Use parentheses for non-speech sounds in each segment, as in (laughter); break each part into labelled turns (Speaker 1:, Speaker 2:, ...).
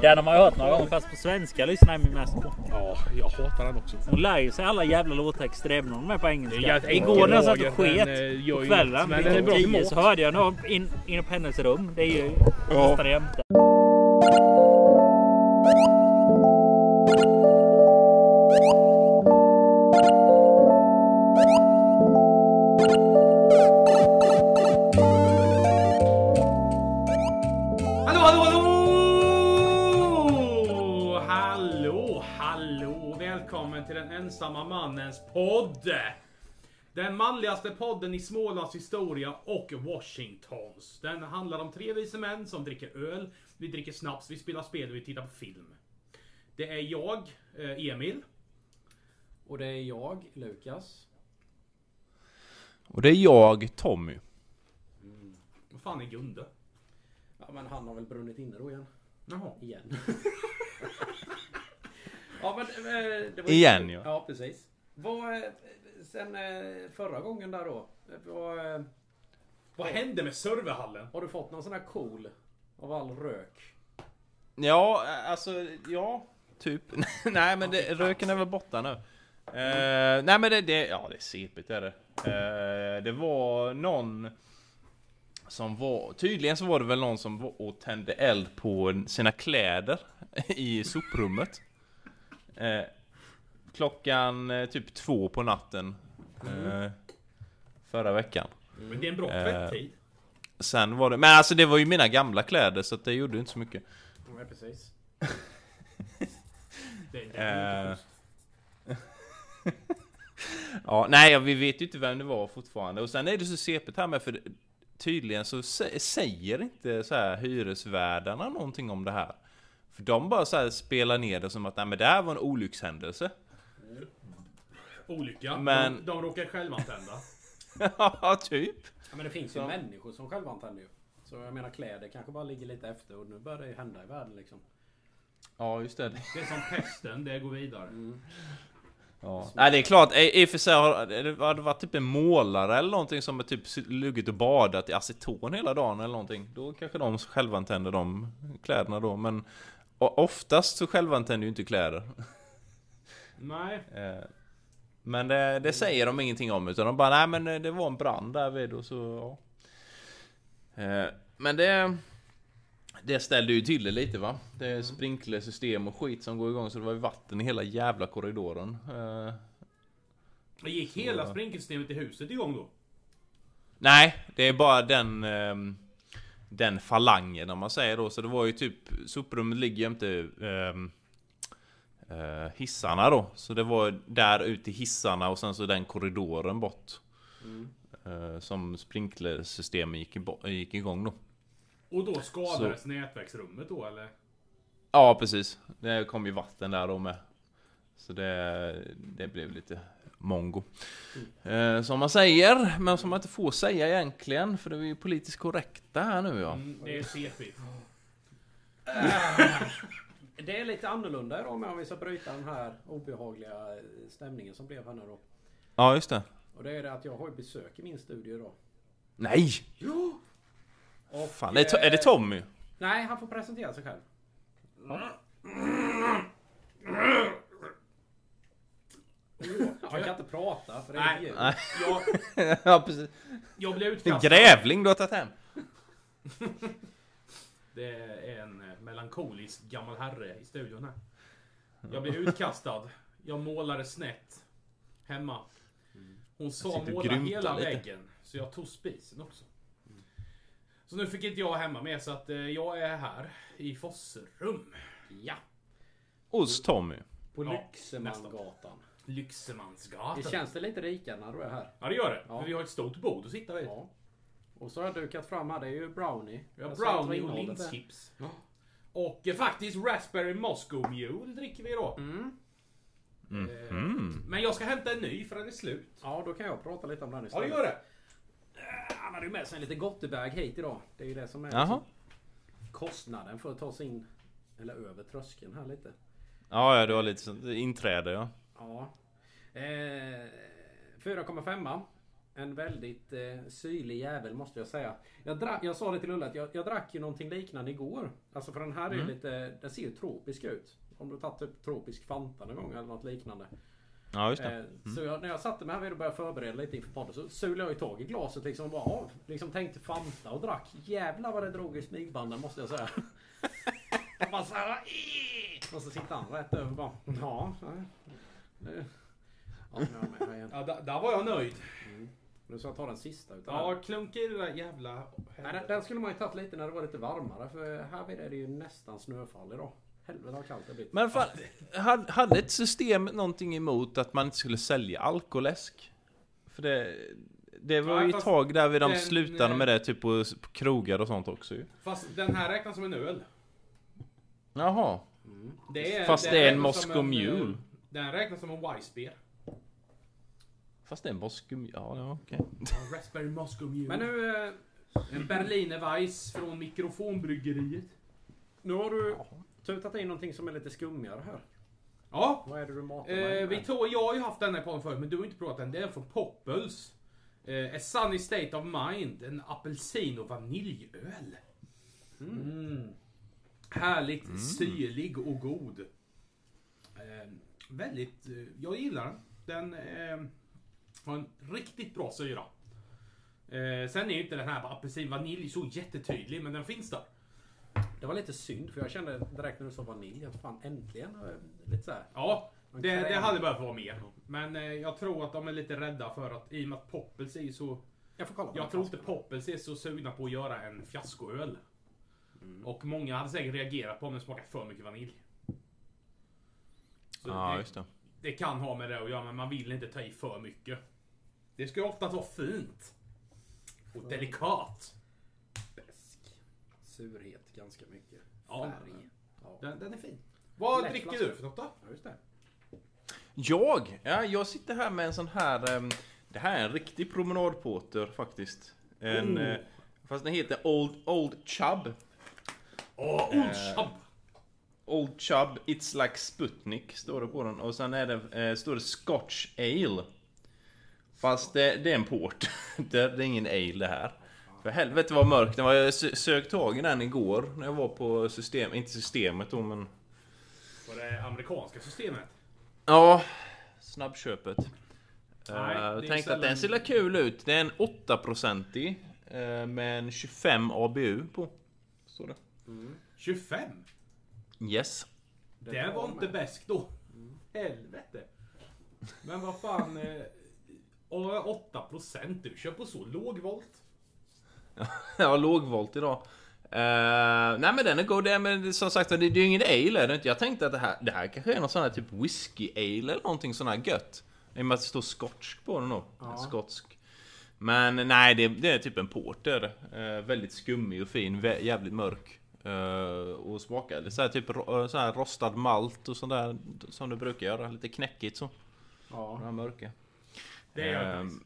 Speaker 1: Den har man ju hört några gånger fast på svenska lyssnar jag mest på.
Speaker 2: Ja, jag hatar den också.
Speaker 1: Hon lär ju sig alla jävla låttexter även om de är på engelska.
Speaker 2: Det är jävligt
Speaker 1: Igår när jag satt och
Speaker 2: enkel lager, men,
Speaker 1: sket
Speaker 2: eh, gör
Speaker 1: på
Speaker 2: ju
Speaker 1: kvällen
Speaker 2: inget. Men
Speaker 1: vilken
Speaker 2: den är bra till
Speaker 1: tio,
Speaker 2: mat.
Speaker 1: så hörde jag någon in, inne på hennes rum. Det är ju
Speaker 2: Ja.
Speaker 1: nästan jämte.
Speaker 2: Hallå, hallå, hallå! Hallå, hallå! Välkommen till den ensamma mannens podd! Den manligaste podden i Smålands historia och Washingtons. Den handlar om tre vise män som dricker öl, vi dricker snaps, vi spelar spel och vi tittar på film. Det är jag, eh, Emil.
Speaker 3: Och det är jag, Lukas.
Speaker 4: Och det är jag, Tommy.
Speaker 2: Vad fan är Gunde?
Speaker 3: Ja men han har väl brunnit inne då igen.
Speaker 2: Jaha.
Speaker 3: Igen. ja men... eh, Det var
Speaker 4: Igen, ja.
Speaker 3: Ja precis. Vad... eh, Sen eh, förra gången där då. eh, Vad, eh,
Speaker 2: Vad hände med serverhallen?
Speaker 3: har du fått någon sån här cool av all rök?
Speaker 4: Ja, alltså, ja. Typ. (laughs) nej, men det, röken är väl borta nu. Eh, nej, men det, det, ja, det är sepigt är det. Eh, det var någon som var, tydligen så var det väl någon som var och tände eld på sina kläder (laughs) i soprummet. Eh, klockan eh, typ två på natten. Eh, förra veckan.
Speaker 2: Men det är en bra
Speaker 4: Eh.
Speaker 2: tvättid.
Speaker 4: Sen var det, men alltså det var ju mina gamla kläder så att det gjorde ju inte så mycket.
Speaker 3: Nej precis.
Speaker 2: Det är- det är
Speaker 4: Eh.
Speaker 2: inte
Speaker 4: (laughs) ja, nej, ja, vi vet ju inte vem det var fortfarande. Och sen är det så sepigt här med, för tydligen så sä- säger inte så här hyresvärdarna någonting om det här. För de bara så här spelar ner det som att nej, men det här var en olyckshändelse. (laughs)
Speaker 2: Olycka.
Speaker 4: eh, Men-
Speaker 2: De, de råkar själva antända.
Speaker 4: Ja, typ.
Speaker 3: Ja, men det finns ju människor som självantänder ju. Så jag menar kläder kanske bara ligger lite efter och nu börjar det ju hända i världen liksom.
Speaker 4: Ja, just det.
Speaker 2: Det är som pesten, det går vidare.
Speaker 4: Ja. Nej, det är klart. I i och för sig har det hade varit typ en målare eller någonting som har typ luggit och badat i aceton hela dagen eller någonting. Då kanske de självantänder de kläderna då, men o- oftast så självantänder ju inte kläder.
Speaker 2: Nej.
Speaker 4: Eh, Men det, det säger de ingenting om utan de bara nej men eh, det var en brand därvid och så ja. Eh, Men det Det ställde ju till det lite va. Det är sprinklersystem och skit som går igång så det var ju vatten i hela jävla korridoren. Eh,
Speaker 2: Men gick hela sprinkelsystemet i huset igång då?
Speaker 4: Nej, det är bara den ehm, Den falangen om man säger då. Så det var ju typ soprummet ligger jämte ehm, eh, hissarna då. Så det var där ut till hissarna och sen så den korridoren bort. Eh, som sprinklersystemet gick, ibo- gick igång då.
Speaker 2: Och då skadades nätverksrummet då eller?
Speaker 4: Ja precis. Det kom ju vatten där då med. Så det, det blev lite mongo. Eh, som man säger, men som man inte får säga egentligen. För det är ju politiskt korrekta här nu ja.
Speaker 2: Mm, det är CP.
Speaker 3: Det är lite annorlunda idag med om vi ska bryta den här obehagliga eh, stämningen som blev här nu då.
Speaker 4: Ja, just det.
Speaker 3: Och det är det att jag har ju besök i min studio idag.
Speaker 4: Nej!
Speaker 3: Jo! Och,
Speaker 4: Fan, det är, to- är det
Speaker 3: eh,
Speaker 4: Tommy?
Speaker 3: Nej, han får presentera sig själv. Åh, jag kan inte prata för det är
Speaker 2: Nej.
Speaker 3: ljud.
Speaker 4: Nej. (laughs)
Speaker 2: Jag,
Speaker 4: ja, precis.
Speaker 2: jag
Speaker 4: (laughs)
Speaker 2: blev
Speaker 4: En
Speaker 2: utkastad.
Speaker 4: grävling du har tagit hem.
Speaker 2: Det är en eh, melankolisk gammal herre i studion här. Jag blev utkastad. Jag målade snett. Hemma. Hon sa
Speaker 4: sitter och
Speaker 2: måla
Speaker 4: grymtar
Speaker 2: hela
Speaker 4: lite. Mm.
Speaker 2: väggen. Så jag tog spisen också. Så nu fick inte jag hemma med så att eh, jag är här i Fosserum.
Speaker 3: Ja!
Speaker 4: Hos Tommy.
Speaker 3: På
Speaker 2: Ja,
Speaker 3: Lyxemangatan.
Speaker 2: Lyxemansgatan.
Speaker 3: Det känns det lite rikare när du är här.
Speaker 2: Ja det gör det.
Speaker 3: Ja.
Speaker 2: För vi har ett stort bord att sitta vid.
Speaker 3: Ja. Och så har jag dukat fram här, det är ju brownie.
Speaker 2: Vi har
Speaker 3: Jag sa inte vad
Speaker 2: brownie och
Speaker 3: innehållet är.
Speaker 2: linschips. Och eh, faktiskt Raspberry Moscow Mule dricker vi idag.
Speaker 3: Mm.
Speaker 2: Eh,
Speaker 4: Mhm.
Speaker 2: Men jag ska hämta en ny för den är slut.
Speaker 3: Ja, då kan jag prata lite om den
Speaker 2: Ja
Speaker 3: istället.
Speaker 2: det gör det.
Speaker 3: Han hade ju med sig en liten gottebag hit idag. Det är ju det som är
Speaker 4: Jaha.
Speaker 3: liksom kostnaden för att ta sig in eller över tröskeln här lite.
Speaker 4: Ja, ja, du har lite sånt inträde ja.
Speaker 3: Ja. Eh, 4,5. en väldigt eh, syrlig jävel måste jag säga. Jag, drack, jag sa det till Ulla att jag, jag drack ju någonting liknande igår. Alltså för den här är ju lite, den ser ju tropisk ut. Om du tagit typ tropisk Fanta någon gång eller något liknande.
Speaker 4: Ja, just
Speaker 3: Eh,
Speaker 4: det.
Speaker 3: Så jag, när jag satte mig här och började förbereda lite inför podden så sulade jag ju tag i glaset liksom och bara av. Liksom tänkte Fanta och drack. Jävlar vad det drog i smygbanden måste jag säga. Jag bara så här, "Ih!" och så sitter han rätt över bara. Ja. nej, nu- Ja, nu är jag med här igen.
Speaker 2: Ja, där, där var jag nöjd.
Speaker 3: Nu ska jag ta den sista utan
Speaker 2: Ja, klunka i det där jävla...
Speaker 3: Nej, den, den skulle man ju tagit lite när det var lite varmare för här är det ju nästan snöfall idag. Helvete vad kallt det blir.
Speaker 4: Men fan, hade, hade ett system någonting emot att man inte skulle sälja alkoläsk? För det, det var
Speaker 2: Nej,
Speaker 4: ju ett
Speaker 2: fast
Speaker 4: tag där vi de
Speaker 2: den,
Speaker 4: slutade
Speaker 2: eh,
Speaker 4: med det typ på, på krogar och sånt också ju.
Speaker 2: Fast den här räknas som en öl.
Speaker 4: Jaha.
Speaker 2: Det
Speaker 4: Fast
Speaker 2: den
Speaker 4: det är en
Speaker 2: räknas
Speaker 4: Moscow
Speaker 2: som en,
Speaker 4: Mule.
Speaker 2: eh, Den räknas som en Weissbier.
Speaker 4: Fast det är en boskum... Ja, ja okej.
Speaker 2: Raspberry Moscow Mule.
Speaker 3: Men
Speaker 2: Men nu,
Speaker 3: nu, eh,
Speaker 2: en Berliner Weiss från mikrofonbryggeriet.
Speaker 3: nu har du tutat in någonting som är lite skummigare här.
Speaker 2: Ja,
Speaker 3: Vad är det du matar mig
Speaker 2: Eh,
Speaker 3: med?
Speaker 2: vi tog, jag har ju haft den här podden förut, men du har inte provat den. Det är från Poppels. Eh, A Sunny State of Mind. En apelsin och vaniljöl. Mm. Härligt syrlig och god. Eh, väldigt... Eh, jag gillar den. Den eh, har en riktigt bra syra. Eh, sen är ju inte den här apelsin-vanilj så jättetydlig, men den finns där.
Speaker 3: Det var lite synd för jag kände direkt när du sa vanilj att fan äntligen. eh, Lite så här.
Speaker 2: Ja,
Speaker 3: Man
Speaker 2: det,
Speaker 3: kräver.
Speaker 2: det hade behövt vara mer. Men eh, jag tror att de är lite rädda för att, i och med att Poppels är ju så...
Speaker 3: Jag får kolla. på
Speaker 2: Jag
Speaker 3: den
Speaker 2: tror inte
Speaker 3: flaskan.
Speaker 2: Poppels är så sugna på att göra en fiaskoöl. Och många hade säkert reagerat på om den smakar för mycket vanilj. Så
Speaker 4: Ja,
Speaker 2: det,
Speaker 4: just det.
Speaker 2: det kan ha med det att göra, men man vill inte ta i för mycket. Det ska ju ofta vara fint. Och delikat.
Speaker 3: Surhet ganska mycket.
Speaker 2: Ja,
Speaker 3: Färg. Ja.
Speaker 2: den, den är fin. Vad
Speaker 3: Lätt
Speaker 2: dricker
Speaker 3: flaska.
Speaker 2: du för något då?
Speaker 3: Ja, just det.
Speaker 4: Jag? Ja, jag sitter här med en sån här... ehm, Det här är en riktig promenadporter faktiskt. En, eh, Fast den heter Old, Old Chub.
Speaker 2: Åh, Old Chub!
Speaker 4: Old Chub, It's Like Sputnik står det på den. Och sen är det, eh, står det Scotch Ale. Fast eh, det, det är en port. (laughs) det är ingen ale det här. För helvete vad mörk den var. Jag sö- sög tag i den igår när jag var på system, inte systemet då men...
Speaker 2: På det amerikanska systemet.
Speaker 4: Ja, snabbköpet.
Speaker 2: Nej,
Speaker 4: Eh,
Speaker 2: det är
Speaker 4: jag tänkte
Speaker 2: sällan-
Speaker 4: att den ser la kul ut. Det är en 8-procentig eh, med en 25 ABU på. Står det.
Speaker 2: 25!
Speaker 4: Yes.
Speaker 2: Det, var inte bäst då. Helvete. Men vad fan. Eh, och 8% du kör på så låg volt.
Speaker 4: (laughs) ja, lågvolt idag. Eh, nej men den är god, Det är- men det- som sagt det, det är ju ingen ale är det inte. Jag tänkte att det här, det här kanske är någon sån här typ whisky ale eller någonting sån här gött. I och med att det står skotsk på den då. Skotsk. Men nej, det, det är typ en porter. Eh, väldigt skummig och fin, vä- jävligt mörk. Eh, och smakar lite så här, typ ro- så här rostad malt och sånt där som du brukar göra. Lite knäckigt så.
Speaker 3: Ja.
Speaker 4: Den här mörka.
Speaker 2: Det är
Speaker 4: Ehm,
Speaker 2: um,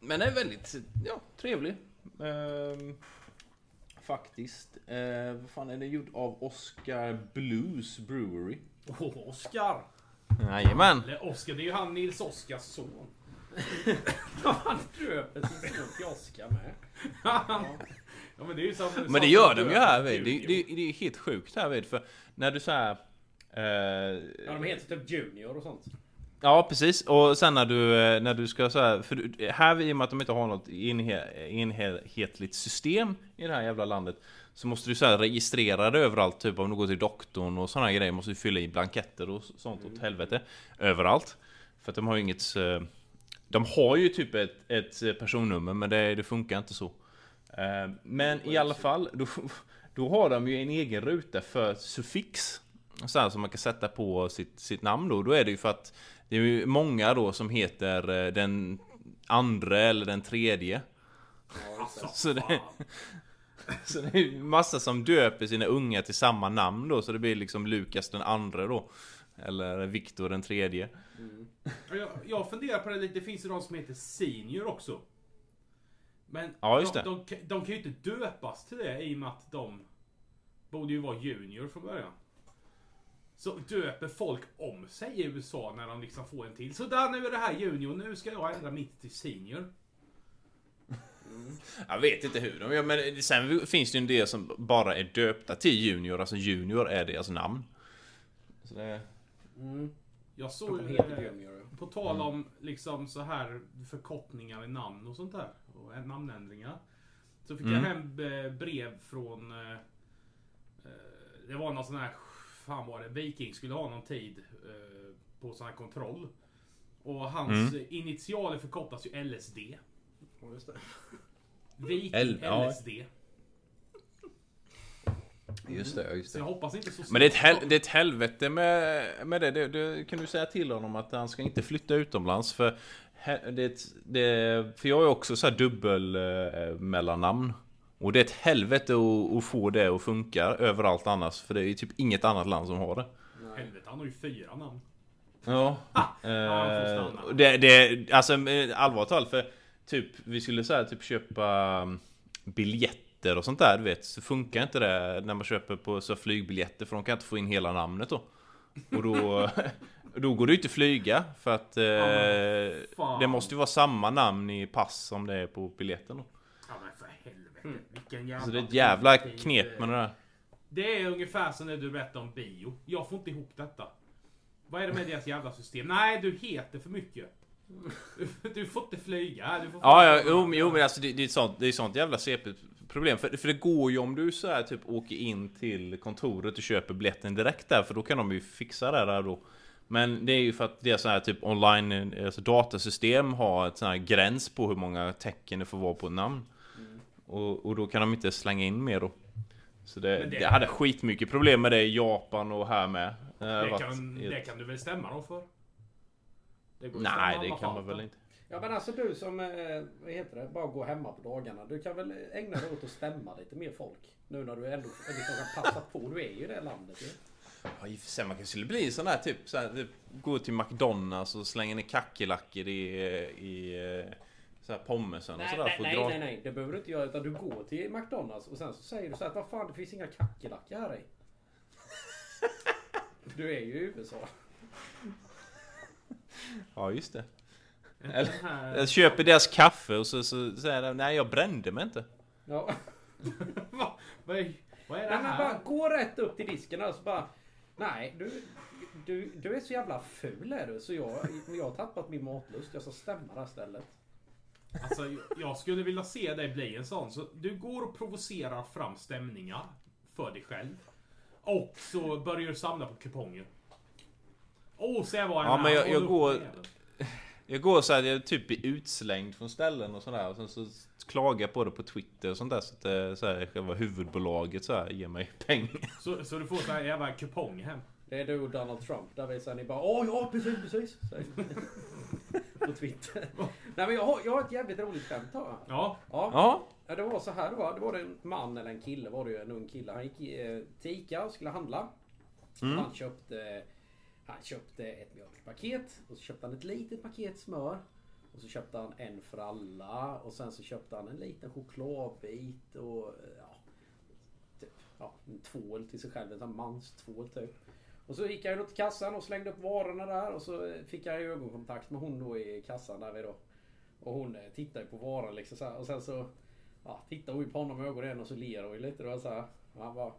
Speaker 4: Men den är väldigt ja, trevlig. Ehm, faktiskt. Eh, vad fan är den gjord av? Oscar Blues Brewery.
Speaker 2: oh, Oscar.
Speaker 4: Jajamän!
Speaker 2: Eller Oscar, det är ju han Nils Oscars son.
Speaker 3: Han döper sin son till Oscar med.
Speaker 2: Ja, men det är ju som,
Speaker 4: Men det gör de ju här vid. Det, det, det är helt sjukt här vid. För när du så här... eh,
Speaker 3: Ja, de heter typ Junior och sånt.
Speaker 4: ja precis. Och sen när du, eh, när du ska så här... För du- här vid, i och med att de inte har något enhe, enhetligt system i det här jävla landet. Så måste du så här registrera det överallt, typ om du går till doktorn och sådana grejer måste du fylla i blanketter och sånt åt helvete Överallt För att de har ju inget eh, De har ju typ ett, ett personnummer men det, det funkar inte så Eh, Men i alla fall då, då har de ju en egen ruta för suffix så här som man kan sätta på sitt, sitt namn då, då är det ju för att Det är ju många då som heter eh, den andra eller den tredje (laughs) så det, så det är ju massa som döper sina unga till samma namn då, så det blir liksom Lukas den andra då. Eller Viktor den tredje.
Speaker 2: Jag, jag funderar på det lite, det finns ju de som heter Senior också. Men
Speaker 4: Ja, just
Speaker 2: de,
Speaker 4: det.
Speaker 2: de, de, kan ju inte döpas till det i och med att de borde ju vara Junior från början. Så döper folk om sig i USA när de liksom får en till. Så där nu är det här Junior, nu ska jag ändra mitt till Senior.
Speaker 4: Jag vet inte hur de gör, men sen finns det ju en del som bara är döpta till Junior, alltså Junior är deras namn. Så det...
Speaker 3: Mm.
Speaker 2: Jag
Speaker 3: De
Speaker 2: såg ju...
Speaker 3: heter
Speaker 2: eh,
Speaker 3: Junior.
Speaker 2: På tal
Speaker 4: Mm.
Speaker 2: om liksom så här förkortningar i namn och sånt där. Och eh, namnändringar. Så fick
Speaker 4: Mm.
Speaker 2: jag hem eh, brev från... eh, eh, Det var någon sån här... Fan var det? Viking skulle ha någon tid eh, på sån här kontroll. Och hans
Speaker 4: Mm.
Speaker 2: eh, initialer förkortas ju LSD.
Speaker 3: Ja, just det.
Speaker 2: Viking
Speaker 4: L- ja.
Speaker 2: LSD.
Speaker 4: Just det, just
Speaker 2: Så jag hoppas inte så
Speaker 4: Men det är ett, hel- det är ett helvete med, med det. Det, det. Kan du säga till honom att han ska inte flytta utomlands? För, he- det, är ett- det, för jag är också så här dubbel eh, mellannamn. Och det är ett helvete att, att få det att funka överallt annars. För det är ju typ inget annat land som har det.
Speaker 2: Helvete, han har ju fyra namn.
Speaker 4: Ja.
Speaker 2: han Ah. får
Speaker 4: Eh,
Speaker 2: stanna.
Speaker 4: och det, det, alltså med allvarligt talat för typ vi skulle säga typ köpa mm, biljetter och sånt där du vet så funkar inte det när man köper på så här, flygbiljetter för de kan inte få in hela namnet då. Och då, (laughs) då går det ju inte att flyga för att eh,
Speaker 2: men fan.
Speaker 4: det måste ju vara samma namn i pass som det är på biljetten då.
Speaker 2: Ja men för helvete. Vilken jävla...
Speaker 4: Så Mm. Alltså, det är ett jävla
Speaker 2: tid,
Speaker 4: knep
Speaker 2: eh,
Speaker 4: med det där.
Speaker 2: Det är ungefär som när du berättade om bio. Jag får inte ihop detta. Vad är det med deras jävla system? Nej, du heter för mycket. (laughs) Du- Du får inte flyga. Du får
Speaker 4: Ja, ja jo, men- jo men alltså det, det, är ett sånt, det är ett sånt jävla CP-problem. För, för det går ju om du så här typ åker in till kontoret och köper biljetten direkt där, för då kan de ju fixa det där då. Men det är ju för att det är så här typ online, alltså datasystem har ett sån här gräns på hur många tecken det får vara på ett namn.
Speaker 2: Mm.
Speaker 4: Och, och då kan de inte slänga in mer då. Så det,
Speaker 2: Men det-
Speaker 4: det... hade skitmycket problem med det i Japan och här med. Det
Speaker 2: det,
Speaker 4: har
Speaker 2: kan,
Speaker 4: varit helt-
Speaker 2: det kan du väl stämma dem för? Det går ju att stämma
Speaker 4: Nej,
Speaker 2: alla
Speaker 4: det kan
Speaker 2: parter.
Speaker 4: man väl inte.
Speaker 3: Ja men alltså du som, eh, vad heter det, bara går hemma på dagarna. Du kan väl ägna dig åt att stämma lite mer folk? Nu när du ändå liksom kan passa på. Du är ju i det landet ju.
Speaker 4: Ja, i och för sig, man kanske skulle bli en sån där typ, så här, typ gå till McDonalds och slänga ner kackerlackor i, i eh, så här pommesen och
Speaker 3: Nej,
Speaker 4: sådär.
Speaker 3: nej,
Speaker 4: för att
Speaker 3: nej,
Speaker 4: dra-
Speaker 3: nej, nej, det behöver du inte göra. Utan du går till McDonalds och sen så säger du så här att vad fan det finns inga kackerlackor här i. (laughs) Du är ju i USA.
Speaker 4: Ja, just det.
Speaker 2: Eller den här...
Speaker 4: Jag köper deras kaffe och så så säger de nej, jag brände mig inte.
Speaker 3: Ja.
Speaker 2: Va? (laughs) Vad är, vad är det
Speaker 3: Nej, men bara
Speaker 2: här?
Speaker 3: gå rätt upp till disken och så bara. Nej, du, du, du är så jävla ful är du. Så jag, jag har tappat min matlust. Jag ska stämma det här stället.
Speaker 2: Alltså, jag skulle vilja se dig bli en sån. Så du går och provocerar fram stämningar för dig själv. Och så börjar du samla på kuponger. Åh, se vad
Speaker 4: Ja, men jag- jag går-
Speaker 2: går...
Speaker 4: Jag går så här, jag typ blir utslängd från ställen och sådär och sen så klagar jag på det på Twitter och sånt där så att eh, så här, själva huvudbolaget så här, ger mig (laughs) pengar.
Speaker 2: Så, så du får sån här jävla kupong hem.
Speaker 3: Det är du och Donald Trump. Där visar ni bara Åh ja precis precis. säger ni. (laughs) På Twitter. Nej men jag har, jag har ett jävligt roligt skämt har jag.
Speaker 2: Ja.
Speaker 3: Ja.
Speaker 4: Ja,
Speaker 3: ja. Det var så här va. Det var det en man eller en kille var det ju. En ung kille. Han gick i, eh, till Ica och skulle handla. Han köpte Han köpte ett mjölkpaket. Och så köpte han ett litet paket smör. Och så köpte han en för alla. Och sen så köpte han en liten chokladbit. Och eh, ja, typ, ja, en tvål till sig själv. En sån här manstvål typ. Och så gick jag ju då till kassan och slängde upp varorna där och så eh, fick jag ju ögonkontakt med hon då i kassan där vi då. Och hon eh, tittade ju på varan liksom så här. och sen så ja, tittade hon ju på honom i ögonen igen och så ler hon ju lite då så här. Och han bara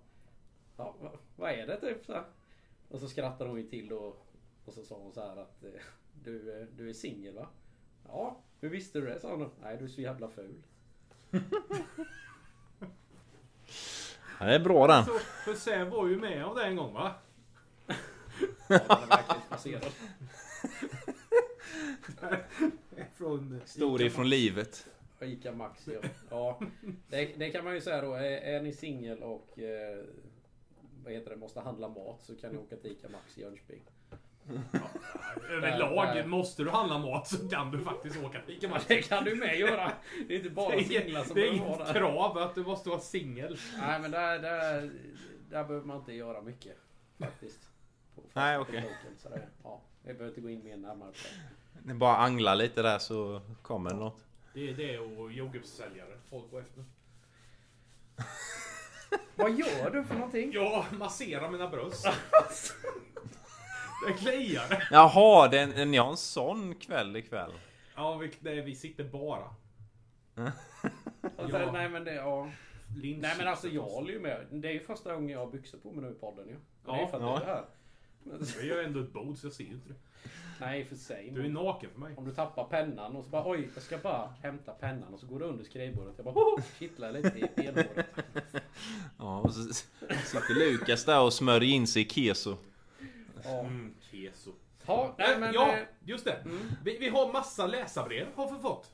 Speaker 3: ja, va- Vad är det typ så här. Och så skrattade hon ju till då och så sa hon så här att eh, du, eh, du är singel va? Ja, hur visste du det? sa hon. då. Nej du är så jävla ful.
Speaker 4: det är bra den.
Speaker 2: Så, för Säv var ju med om det en gång va?
Speaker 3: Ja, den är verkligen passerad.
Speaker 2: Från...
Speaker 4: Stor ifrån livet.
Speaker 3: Och Ica Maxi. och- Ja, det, det kan man ju säga då. Är, är ni singel och eh, vad heter det, måste handla mat så kan ni åka till Ica Maxi i Jönköping.
Speaker 2: Överlag,
Speaker 3: Där, där.
Speaker 2: måste du handla mat så kan du faktiskt åka till Ica
Speaker 3: Ja,
Speaker 2: Maxi.
Speaker 3: det kan du med göra. Det är inte
Speaker 2: Det
Speaker 3: bara singlar
Speaker 2: är-
Speaker 3: som
Speaker 2: det är
Speaker 3: behöver vara
Speaker 2: inget
Speaker 3: där.
Speaker 2: krav att du måste vara singel.
Speaker 3: Nej men där, där, där behöver man inte göra mycket faktiskt. På-
Speaker 4: Nej,
Speaker 3: på
Speaker 4: okej.
Speaker 3: loken, så det- Ja, jag behöver inte gå in mer närmare på det.
Speaker 4: Ni bara anglar lite där så kommer det något.
Speaker 2: Det är det och jordgubbssäljare. Folk går efter.
Speaker 3: Vad gör du för någonting?
Speaker 2: Jag masserar mina bröst. Det kliar.
Speaker 4: Jaha, det är, ni har en sån kväll ikväll?
Speaker 2: Ja, vi, nej, vi sitter bara.
Speaker 3: Och sen,
Speaker 2: Ja.
Speaker 3: Nej men det, ja.
Speaker 2: Lynch-
Speaker 3: Nej men alltså jag håller ju med. Det är ju första gången jag har byxor på mig nu i podden ju. Ja. Det är
Speaker 2: Ja.
Speaker 3: ju för att det är det här. Men,
Speaker 2: Jag
Speaker 3: (laughs)
Speaker 2: gör ändå ett bord så jag ser ju inte det.
Speaker 3: nej för sig.
Speaker 2: Du är naken för mig.
Speaker 3: Om du tappar pennan och så bara oj, jag ska bara hämta pennan och så går du under skrivbordet. Jag bara (laughs) oh, kittlar lite i benhåret.
Speaker 4: Ja, och så sitter Lukas där och smörjer in sig i keso.
Speaker 3: Ja.
Speaker 2: Mm, keso.
Speaker 3: Ja, nej men.
Speaker 2: ja,
Speaker 3: eh,
Speaker 2: just det. Vi, vi har massa läsarbrev har vi fått.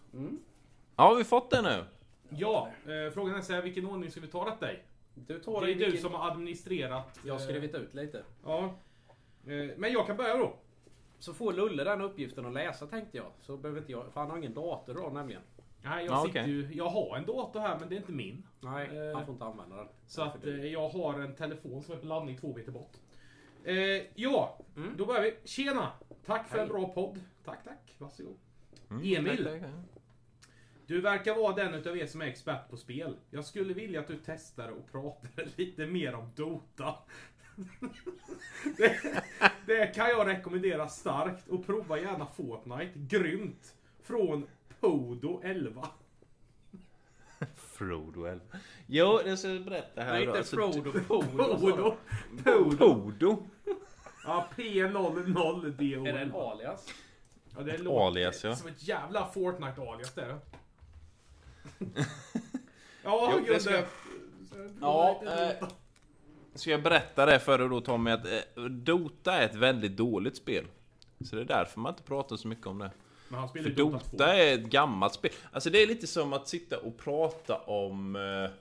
Speaker 4: Ja, har vi fått det nu?
Speaker 2: Ja, eh, frågan är så här, vilken ordning ska vi ta detta i?
Speaker 3: Du
Speaker 2: Det
Speaker 3: tar
Speaker 2: är
Speaker 3: dig
Speaker 2: du
Speaker 3: vilken-
Speaker 2: som har administrerat.
Speaker 3: Jag har
Speaker 2: eh,
Speaker 3: skrivit ut lite.
Speaker 2: Ja. Eh, Men jag kan börja då.
Speaker 3: Så får Lulle den uppgiften att läsa tänkte jag. Så behöver inte jag, för han har ingen dator då nämligen.
Speaker 2: Nej, jag,
Speaker 4: Ja,
Speaker 2: sitter
Speaker 4: okej.
Speaker 2: ju, jag har en dator här men det är inte min.
Speaker 3: Nej,
Speaker 2: Eh,
Speaker 3: han får inte använda den.
Speaker 2: Så att eh, jag har en telefon som är på landning två meter bort. Eh, ja, då börjar vi. Tjena! Tack för en bra podd. Tack, tack. Varsågod.
Speaker 4: Mm,
Speaker 2: Emil, du verkar vara den utav er som är expert på spel. Jag skulle vilja att du testar och pratar (laughs) lite mer om Dota. (laughs) det, det kan jag rekommendera starkt och prova gärna Fortnite. Grymt! Från Podo 11.
Speaker 4: Frodo eller? Jo, det ska jag berätta här
Speaker 3: Nej
Speaker 4: då.
Speaker 3: inte
Speaker 4: Alltså,
Speaker 3: Frodo,
Speaker 4: (laughs)
Speaker 3: Polo. alltså. sa du.
Speaker 2: Podo? Podo?
Speaker 4: Frodo?
Speaker 2: Ja, P00DO.
Speaker 3: Är det en alias?
Speaker 2: Ja, det låter
Speaker 4: Alias ja.
Speaker 2: som ett jävla Fortnite-alias
Speaker 4: (laughs)
Speaker 2: där. ja,
Speaker 4: Jo,
Speaker 2: jo,
Speaker 4: det
Speaker 2: Gunde.
Speaker 4: ska jag- Ja, eh, ska jag berätta det för dig då Tommy att eh, Dota är ett väldigt dåligt spel. Så det är därför man inte pratar så mycket om det.
Speaker 2: Men han spelar
Speaker 4: För
Speaker 2: ju Dota 2.
Speaker 4: Dota är ett gammalt spel. Alltså det är lite som att sitta och prata om... Eh,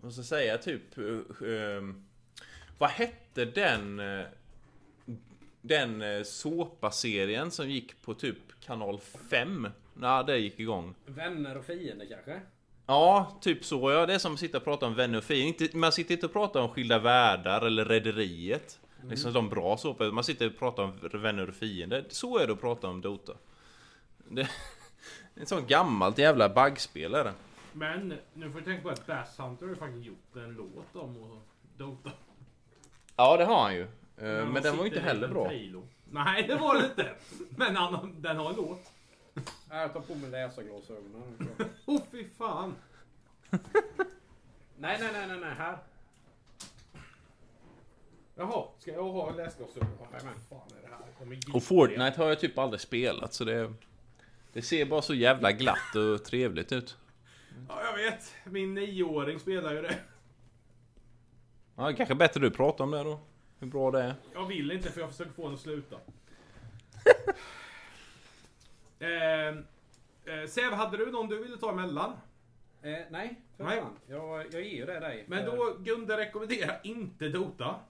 Speaker 4: vad ska jag säga? Typ... Eh, eh, vad hette den... Eh, den eh, såpaserien som gick på typ kanal 5? När det gick igång.
Speaker 3: Vänner och fiender kanske?
Speaker 4: Ja, typ så ja. Det är som att sitta och prata om vänner och fiender. Inte- Man sitter inte och pratar om skilda världar eller rederiet.
Speaker 2: Mm.
Speaker 4: Liksom de bra såpor. Man sitter och pratar om vänner och fiender. Så är det att prata om Dota. Det en sån gammalt jävla baggspel är det.
Speaker 2: Men nu får du tänka på att Bass Hunter har ju faktiskt gjort en låt om och Dota.
Speaker 4: Ja, det har han ju. Eh,
Speaker 2: han
Speaker 4: Men den var ju
Speaker 2: sitter
Speaker 4: inte
Speaker 2: i
Speaker 4: heller
Speaker 2: en
Speaker 4: bra.
Speaker 2: trailer. Nej, det var det inte. (laughs) Men han, den har en låt.
Speaker 3: Nej, jag tar på mig läsarglasögonen.
Speaker 2: Åh oh, fy fan.
Speaker 3: nej, nej, nej, nej, nej, här.
Speaker 2: Jaha, ska jag ha läsglasögon? Ja, men fan är det här? Kommer ge-
Speaker 4: Och Fortnite har jag typ aldrig spelat så det... Det ser bara så jävla glatt och trevligt ut.
Speaker 2: Ja, jag vet. Min nioåring spelar ju det.
Speaker 4: Ja, kanske bättre du pratar om det då. Hur bra det är.
Speaker 2: Jag vill inte för jag försöker få henne att
Speaker 4: (laughs)
Speaker 2: sluta. eh, eh, Sev, hade du någon du ville ta emellan?
Speaker 3: Eh, nej, för
Speaker 2: Nej.
Speaker 3: fan. Jag, jag ger ju det dig.
Speaker 2: Men
Speaker 3: Eh,
Speaker 2: då, Gunde rekommenderar inte Dota.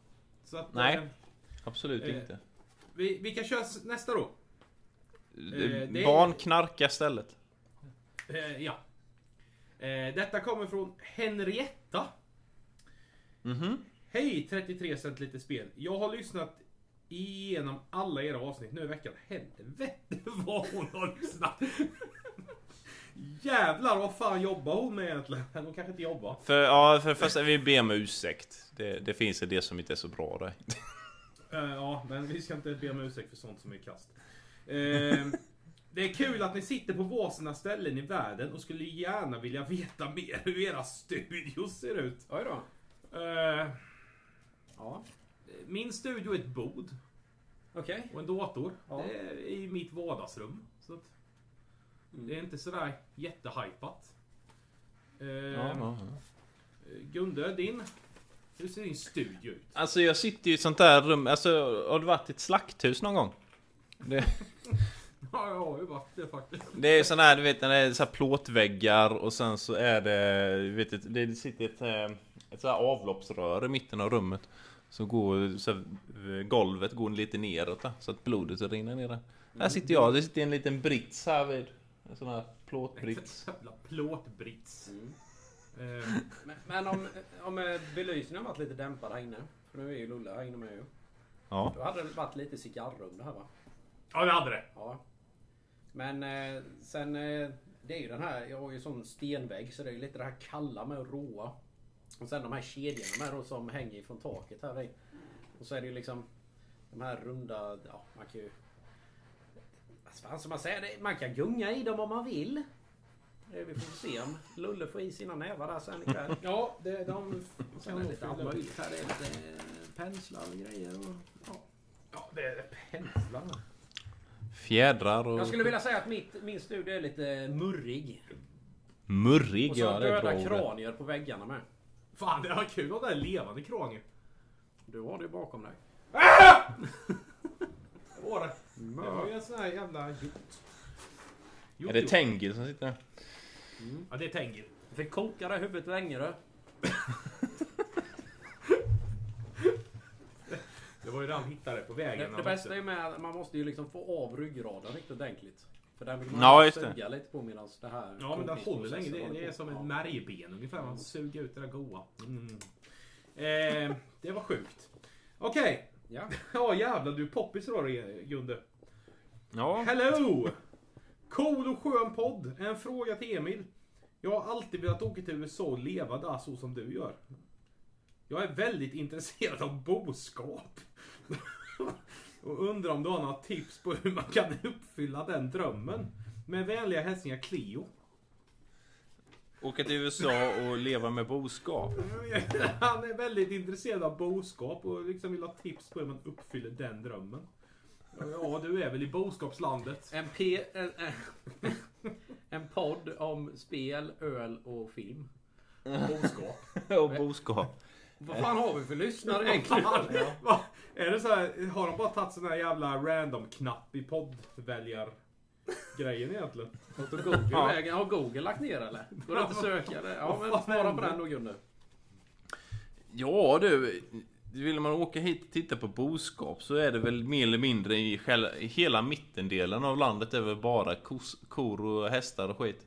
Speaker 2: Så att,
Speaker 4: Nej.
Speaker 2: Eh,
Speaker 4: Absolut
Speaker 2: Eh,
Speaker 4: inte.
Speaker 2: vi, vi kan köra s- nästa då. det är-
Speaker 4: Barn knarkar stället.
Speaker 2: Eh, ja. Eh, detta kommer från Henrietta.
Speaker 4: Mhm.
Speaker 2: Hej 33 cent lite spel. Jag har lyssnat igenom alla era avsnitt nu i veckan. Helvete vad hon har lyssnat. (laughs) Jävlar vad fan jobbar hon med egentligen? Hon kanske inte jobbar.
Speaker 4: För, ja, för det första, vi ber om ursäkt. Det, det finns en del som inte är så bra där.
Speaker 2: Eh, ja, men vi ska inte be om ursäkt för sånt som är kast. Eh, det är kul att ni sitter på varsina ställen i världen och skulle gärna vilja veta mer hur era studios ser ut.
Speaker 3: Oj då.
Speaker 2: Eh,
Speaker 3: Ja,
Speaker 2: min studio är ett bod
Speaker 3: okej.
Speaker 2: och en dator.
Speaker 3: Ja.
Speaker 2: Det är i mitt vardagsrum. Så att Det är inte sådär jättehypat. Eh, Gunde, din? Hur ser din studio ut? (laughs)
Speaker 4: Alltså jag sitter ju i ett sånt där rum, alltså har du varit i ett slakthus någon gång? Det,
Speaker 2: Ja, jag har ju varit det faktiskt.
Speaker 4: det är sån här, du vet, när det är så här plåtväggar och sen så är det, du vet, ett- det sitter ett, eh, ett så här avloppsrör i mitten av rummet. Så går så här, eh, golvet går lite neråt där, så att blodet rinner ner där. Här sitter jag, det sitter en liten brits här vid. En sån här plåtbrits.
Speaker 2: (laughs) Jävla plåtbrits.
Speaker 3: Mm.
Speaker 2: Eh,
Speaker 3: Men, men om, om eh, belysningen har varit lite dämpad här inne. För nu är ju Lulle här inne med ju.
Speaker 4: Ja.
Speaker 3: Då hade det varit lite cigarrum det här va?
Speaker 2: ja, vi hade det.
Speaker 3: Ja. Men eh, sen, eh, det är ju den här, jag har ju sån stenvägg så det är ju lite det här kalla med råa. Och sen de här kedjorna med då som hänger ifrån taket här i. Och så är det ju liksom de här runda, ja man kan ju... Alltså, fan, som man säger, det- man kan gunga i dem om man vill. Eh, Vi får se om Lulle får i sina nävar där sen ikväll.
Speaker 2: Ja, det, de kan
Speaker 3: Sen är det
Speaker 2: nog
Speaker 3: lite
Speaker 2: fylla
Speaker 3: allt
Speaker 2: upp.
Speaker 3: möjligt här. Det är lite eh, penslar och grejer. Och, ja.
Speaker 2: Ja, det är penslarna.
Speaker 4: Fjädrar och...
Speaker 3: Jag skulle vilja säga att mitt, min studio är lite murrig.
Speaker 4: Murrig,
Speaker 3: Och så
Speaker 4: ja det är bra
Speaker 3: döda
Speaker 4: ordet.
Speaker 3: kranier på väggarna med.
Speaker 2: Fan, det var kul att det är levande kranier.
Speaker 3: Du har det bakom dig.
Speaker 2: Det var det. Det var ju
Speaker 3: Mör.
Speaker 2: en sån här jävla jot.
Speaker 4: Är det Tengil som sitter där?
Speaker 2: Ja, det är Tengil.
Speaker 3: Jag fick koka det huvudet länge du.
Speaker 2: Det var ju det han hittade på vägen.
Speaker 3: Det, det bästa är med att man måste ju liksom få av ryggraden riktigt ordentligt. För den vill man
Speaker 4: Ja,
Speaker 3: ju
Speaker 4: just det.
Speaker 3: suga lite på medan det här...
Speaker 2: Ja, men den håller länge. Det,
Speaker 3: kokningsprocessen
Speaker 2: det är som
Speaker 3: håller
Speaker 2: ett
Speaker 3: på.
Speaker 2: märgben ungefär. Man suger ut det där goa. Mm. Eh, det var sjukt. Okej.
Speaker 3: Ja.
Speaker 2: (laughs) Ja, jävlar. Du är poppis idag, Gunde.
Speaker 4: Ja.
Speaker 2: Hello! Cool och skön podd. En fråga till Emil. Jag har alltid velat åka till USA och leva där så som du gör. Jag är väldigt intresserad av boskap. (laughs) och undrar om du har några tips på hur man kan uppfylla den drömmen. Med vänliga hälsningar Cleo. (laughs)
Speaker 4: Åka till USA och leva med boskap.
Speaker 2: Han är väldigt intresserad av boskap och liksom vill ha tips på hur man uppfyller den drömmen. Ja, du är väl i boskapslandet.
Speaker 3: En, P, en, en- (laughs) en podd om spel, öl och film.
Speaker 2: Boskap.
Speaker 4: (laughs) och boskap.
Speaker 3: Vad fan har vi för lyssnare egentligen?
Speaker 4: (laughs)
Speaker 2: Va? Är det så här, har de bara tagit sån här jävla random-knapp i poddväljargrejen egentligen?
Speaker 3: Vart tog Google vägen? Har Google lagt ner eller? Går det inte att söka det? Ja men svara på den då Gunde.
Speaker 4: Ja du. Vill man åka hit och titta på boskap så är det väl mer eller mindre i själ- i hela mittendelen av landet är väl bara kos, kor och hästar och skit.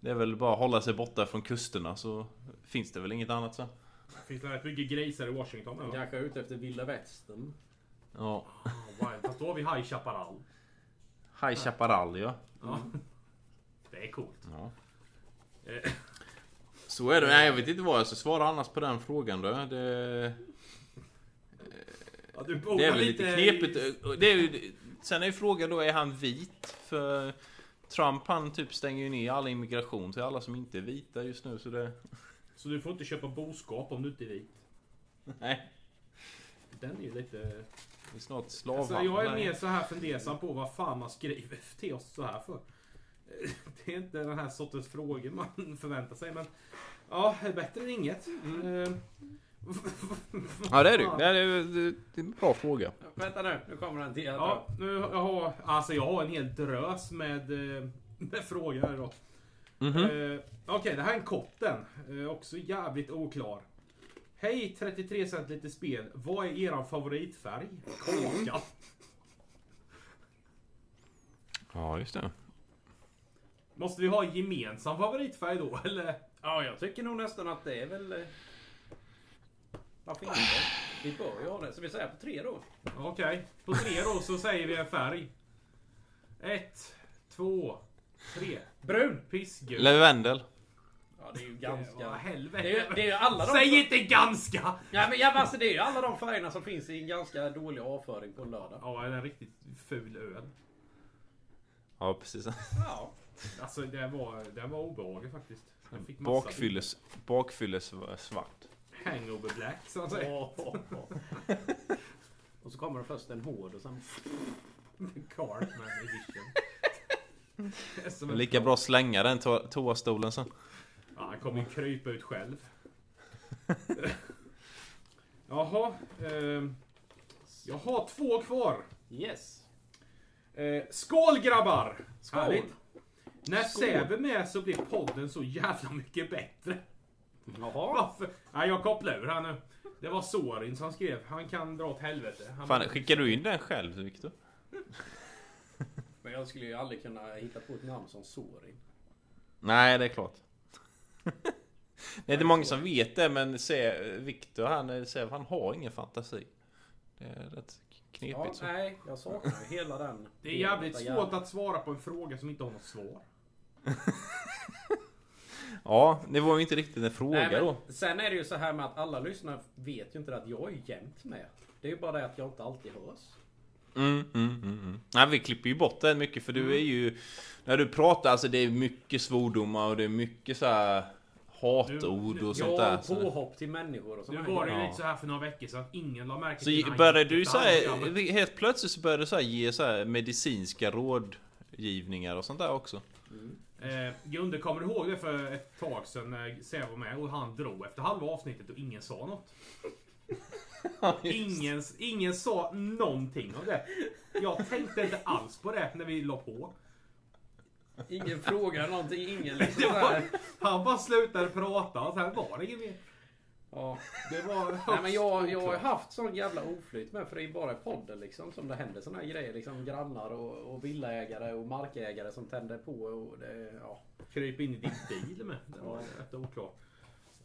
Speaker 4: Det är väl bara att hålla sig borta från kusterna så finns det väl inget annat sen.
Speaker 2: Finns det rätt mycket grisar i Washington nu? va?
Speaker 3: Kanske är ute efter vilda västern.
Speaker 4: Ja.
Speaker 2: Ja, wild. Fast då har vi High Chaparral.
Speaker 4: High Chaparral ja.
Speaker 2: Ja. Det är coolt.
Speaker 4: ja.
Speaker 2: Eh,
Speaker 4: Så är det. Nej jag vet inte vad jag ska svara annars på den frågan då. Det...
Speaker 2: Ja, du bor
Speaker 4: Det är väl lite
Speaker 2: i-
Speaker 4: knepigt. eh. Det är ju, sen är ju frågan då, är han vit? För Trump han typ stänger ju ner all immigration till alla som inte är vita just nu så det...
Speaker 2: Så du får inte köpa boskap om du inte är vit.
Speaker 4: Nej.
Speaker 2: Den är ju lite...
Speaker 4: Det är snart slavhandel.
Speaker 2: Alltså, jag är
Speaker 4: Nej.
Speaker 2: mer så här fundersam på vad fan man skriver (laughs) till oss så här för. Eh, Det är inte den här sortens frågor man (laughs) förväntar sig men... Ja, bättre än inget. Eh,
Speaker 4: Ja det är du. Det är, det är en bra fråga.
Speaker 3: Vänta nu, nu kommer den till.
Speaker 2: Ja, nu har- jag har, alltså jag har en hel drös med, eh, med frågor här idag. Eh,
Speaker 4: Mhm.
Speaker 2: Okej, det här är en kort den. Eh, också jävligt oklar. Hej 33 cent lite spel. Vad är eran favoritfärg? Kaka.
Speaker 4: Ja just det.
Speaker 2: Måste vi ha en gemensam favoritfärg då eller?
Speaker 3: Ja, jag tycker nog nästan att det är väl... eh, Varför inte? Vi bör ju ha det. Så vi säger på tre då.
Speaker 2: Okej, på tre då så säger vi en färg. Ett, två, tre.
Speaker 3: Brun!
Speaker 2: Pissgul.
Speaker 4: Lavendel.
Speaker 3: Ja, det är ju
Speaker 2: Vad
Speaker 3: ganska...
Speaker 2: helvete.
Speaker 3: Det är, ju- det är ju alla de...
Speaker 2: Säg inte ganska!
Speaker 3: Nej, men jag, alltså, det är ju alla de färgerna som finns i en ganska dålig avföring på en lördag.
Speaker 2: Ja, det är en riktigt ful öl.
Speaker 4: Ja precis.
Speaker 3: Ja.
Speaker 2: Alltså det var, det var obehagligt faktiskt. Jag fick massa
Speaker 4: Bakfylles, bakfylles svart.
Speaker 2: hangover black så att säga.
Speaker 3: Åh, åh, åh. (laughs) Och så kommer det först en hård och sen...
Speaker 2: (laughs) Cartman edition. Det är
Speaker 3: (laughs)
Speaker 2: som en-
Speaker 4: Lika bra slänga den to- toastolen sen.
Speaker 2: Ja, han kommer ju krypa ut själv. (laughs) Jaha. ehm, jag har två kvar.
Speaker 3: Yes.
Speaker 2: Eh, skål grabbar!
Speaker 3: Skål.
Speaker 2: Härligt. När
Speaker 3: Skål.
Speaker 2: Säve är med så blir podden så jävla mycket bättre.
Speaker 3: Jaha.
Speaker 2: Varför? Nej, jag kopplar ur här nu. Det var Sorin som skrev. Han kan dra åt helvete. Han
Speaker 4: Fan skickar du in den själv Viktor?
Speaker 3: Men jag skulle ju aldrig kunna hitta på ett namn som Sorin.
Speaker 4: Nej, det är (laughs) klart. det är inte många som vet det, men se, Victor han, eh, se, han har ingen fantasi. Det är rätt knepigt.
Speaker 3: Ja,
Speaker 4: så.
Speaker 3: nej, jag saknar ju hela den.
Speaker 2: Det är jävligt
Speaker 3: hela jävla-
Speaker 2: svårt att svara på en fråga som inte har något svar.
Speaker 4: ja, det var ju inte riktigt en fråga
Speaker 3: Nej,
Speaker 4: då.
Speaker 3: men, sen är det ju så här med att alla lyssnare vet ju inte att jag är jämt med. Det är ju bara det att jag inte alltid hörs.
Speaker 4: Mm, mm, mm, mm. Nej, vi klipper ju bort det mycket för
Speaker 3: Mm.
Speaker 4: du är ju... När du pratar, alltså det är mycket svordomar och det är mycket så här hatord och sånt där.
Speaker 3: Ja,
Speaker 4: Så,
Speaker 3: påhopp till människor och
Speaker 2: Nu
Speaker 3: sådana
Speaker 2: var det ju
Speaker 4: Ja.
Speaker 2: lite så här för några veckor sedan. Ingen la märke
Speaker 4: så
Speaker 2: till
Speaker 4: ge- började du så här, Helt plötsligt så började du så här ge så här medicinska rådgivningar och sånt där också.
Speaker 2: Eh, Gunde, kommer du ihåg det för ett tag sedan när Säv var med och han drog efter halva avsnittet och ingen sa
Speaker 3: (laughs)
Speaker 2: något? ingen, ingen sa någonting om det. Jag tänkte inte alls på det när vi la på.
Speaker 3: Ingen frågar någonting,
Speaker 2: (laughs)
Speaker 3: ingen
Speaker 2: Det
Speaker 3: liksom
Speaker 2: var,
Speaker 3: sådär.
Speaker 2: han bara slutade prata och sen var det inget mer.
Speaker 3: Ja.
Speaker 2: Det var
Speaker 3: Nej men jag, jag har haft sån jävla oflyt med för det är bara i podden liksom som det händer såna här grejer. Liksom grannar och, och villaägare och markägare som tänder på och det, ja.
Speaker 2: Kryp in i din bil med. Det var rätt oklart.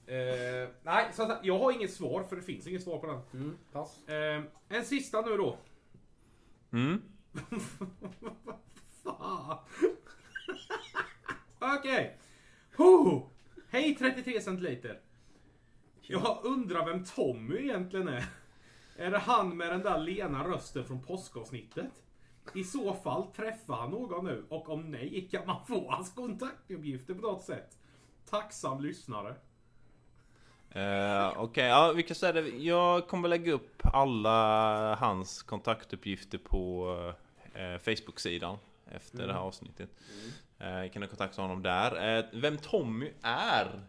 Speaker 2: Eh, nej, så att, jag har inget svar för det finns inget svar på den.
Speaker 3: Mm, pass.
Speaker 2: Eh, en sista nu då. (laughs)
Speaker 4: Mm.
Speaker 2: Fan. Okej. Ho! Hej 33 centiliter. Jag undrar vem Tommy egentligen är. Är det han med den där lena rösten från påskavsnittet? I så fall träffar han någon nu och om nej kan man få hans kontaktuppgifter på något sätt. Tacksam lyssnare.
Speaker 4: Eh, Okej, ja, vi kan säga det. Jag kommer lägga upp alla hans kontaktuppgifter på eh, Facebook-sidan efter det här avsnittet. Eh, kan du kontakta honom där? Eh, vem Tommy är?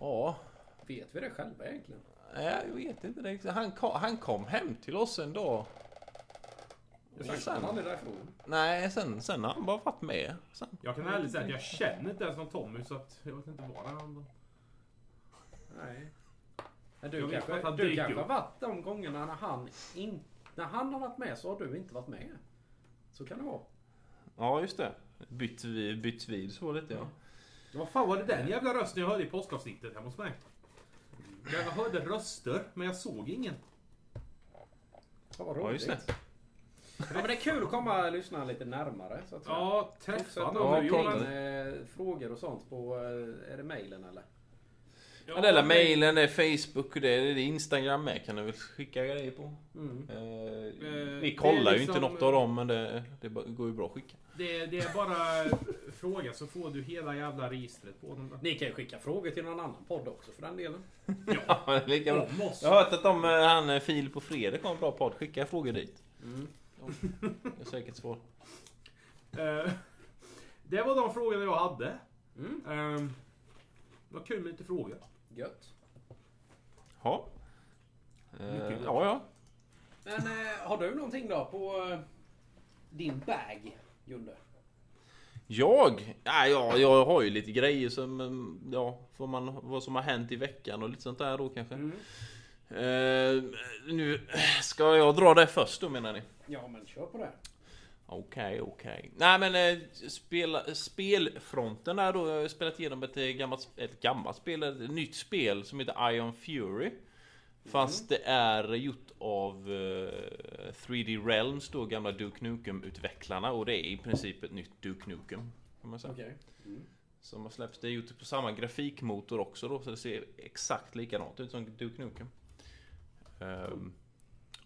Speaker 4: Ja,
Speaker 3: Vet vi det själva egentligen?
Speaker 4: eh, jag vet inte det. Han kom, han kom hem till oss en dag.
Speaker 3: Jag
Speaker 4: sen.
Speaker 3: sen han är därifrån.
Speaker 4: Nej, sen, sen har han bara varit med. Sen.
Speaker 2: Jag kan ärligt säga att jag känner inte ens någon Tommy så att jag vet inte var han...
Speaker 3: Nej.
Speaker 2: Jag
Speaker 3: Men du
Speaker 2: vet att
Speaker 3: kanske,
Speaker 2: han
Speaker 3: du
Speaker 2: dyker
Speaker 3: kanske har
Speaker 2: upp.
Speaker 3: varit de gångerna när han, in, när han har varit med så har du inte varit med. Så kan det vara.
Speaker 4: Ja, just det. Bytt, vi- bytt vid så lite ja.
Speaker 2: Vad fan var det den jävla rösten jag hörde i påskavsnittet hemma hos mig? Jag hörde röster, men jag såg ingen.
Speaker 3: Ja, vad roligt.
Speaker 4: Ja, just det.
Speaker 3: Ja, men det är kul att komma och lyssna lite närmare. Så att säga.
Speaker 2: Ja,
Speaker 3: Fortsätt
Speaker 2: träffa
Speaker 4: Ja,
Speaker 2: någon
Speaker 3: att
Speaker 2: nu
Speaker 4: kolla.
Speaker 2: Jonas.
Speaker 3: in eh, frågor och sånt på, eh, är det mejlen eller?
Speaker 4: Ja, det är alla mailen, det är Facebook och det är det är Instagram med kan du väl skicka grejer på.
Speaker 3: Mm.
Speaker 4: Eh, vi
Speaker 2: det
Speaker 4: kollar
Speaker 2: är
Speaker 4: ju inte
Speaker 2: liksom-
Speaker 4: något av dem men det, det bara- går ju bra att skicka.
Speaker 2: Det, det är bara fråga så får du hela jävla registret på dem. där.
Speaker 3: Ni kan ju skicka frågor till någon annan podd också för den delen.
Speaker 4: Ja, det är lika bra.
Speaker 2: Om oss.
Speaker 4: Jag har hört att de, eh, han eh, Filip och Fredrik har en bra podd. Skicka frågor dit. Mm. Jag säkert svar.
Speaker 2: Eh, Det var de frågorna jag hade.
Speaker 3: Mm,
Speaker 2: Eh, Vad kul med lite frågor. (laughs)
Speaker 3: Gött.
Speaker 4: Ja. Eh, ja, ja.
Speaker 3: Men eh, har du någonting då på eh, din bag, Junde?
Speaker 4: Jag? Ja, jag? Jag har ju lite grejer som, eh, ja, får man, vad som har hänt i veckan och lite sånt där då kanske.
Speaker 2: Mm.
Speaker 3: Mm.
Speaker 4: Eh, nu ska jag dra det först då menar ni?
Speaker 3: Ja men kör på det.
Speaker 4: Okej, okej. Nej men eh, spela, spelfronten där då. Jag har ju spelat igenom ett eh, gammalt, ett gammalt spel, ett nytt spel som heter Iron Fury. Fast det är gjort av eh, 3D Realms då, gamla Duke Nukem-utvecklarna. Och det är i princip ett nytt Duke Nukem. Kan man säga.
Speaker 3: Okej.
Speaker 4: Som har släppts. Det är gjort på samma grafikmotor också då, så det ser exakt likadant ut som Duke Nukem. Ehm,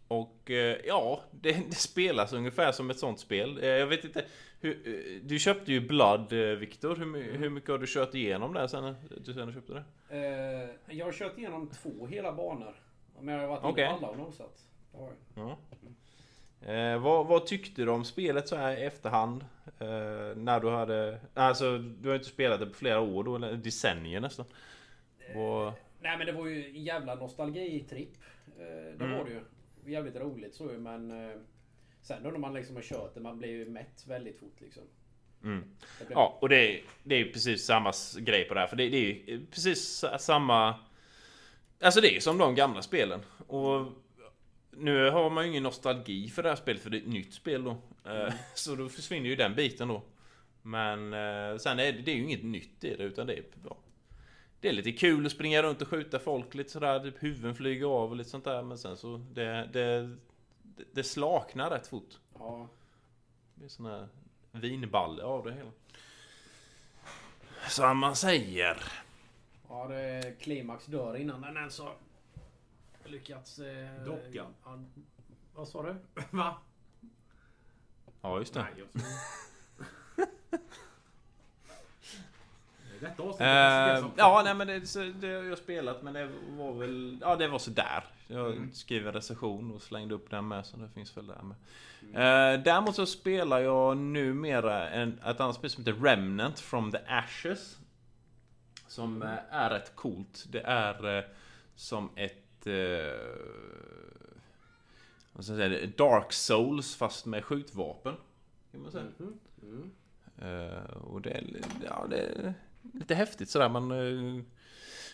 Speaker 4: och eh, ja, (laughs) det, det spelas ungefär som ett sånt spel. Eh, jag vet inte, hur, eh, du köpte ju Blood eh, Viktor. Hur, my- hur mycket har du kört igenom där sen du, sen du köpte det?
Speaker 3: Eh, jag har kört igenom två hela banor. Men jag har varit
Speaker 4: Okej.
Speaker 3: inne på alla och nosat. Det har jag.
Speaker 4: Ja. Eh, vad, vad tyckte du om spelet så här i efterhand? Eh, när du hade... Alltså, du har ju inte spelat det på flera år då, eller decennier nästan. Vad-
Speaker 3: Nej men det var ju en jävla nostalgitripp. Eh, det
Speaker 4: Mm.
Speaker 3: var det ju. Jävligt roligt så ju men eh, sen då när man liksom har kört det, man blir ju mätt väldigt fort liksom. Det blir-
Speaker 4: Mm. Ja, och det är, det är ju precis samma s- grej på det här. För det, det är ju eh, precis sa- samma... Alltså det är ju som de gamla spelen. Och nu har man ju ingen nostalgi för det här spelet, för det är ett nytt spel då. Eh, (laughs) Så då försvinner ju den biten då. Men eh, sen är det, det är ju inget nytt i det, utan det är... Ja, det är lite kul att springa runt och skjuta folk lite sådär, typ huvuden flyger av och lite sånt där. Men sen så... Det, det, det, det slaknar rätt fort.
Speaker 3: Ja.
Speaker 4: Det är sån här vinballe av det hela. Som man säger.
Speaker 3: Ja, det är klimax dör innan den ens har lyckats... Eh,
Speaker 2: Dockan.
Speaker 3: Ja, vad sa du?
Speaker 2: Va?
Speaker 4: Ja, just det.
Speaker 2: Nej, jag
Speaker 4: (laughs)
Speaker 2: Detta avsnittet presenteras
Speaker 4: Eh,
Speaker 2: som-
Speaker 4: ja, nej men det, så, det har jag spelat men det var väl... Ja, det var sådär. Jag skrev en recension och slängde upp den med så det finns väl där med. Eh, däremot så spelar jag numera en, ett annat spel som heter Remnant from the Ashes. Som eh, är rätt coolt. Det är eh, som ett... Eh, vad ska jag säga, Dark Souls fast med skjutvapen. Kan man säga.
Speaker 3: Mm.
Speaker 4: Eh, och det är, li- ja, det är lite häftigt sådär men... eh,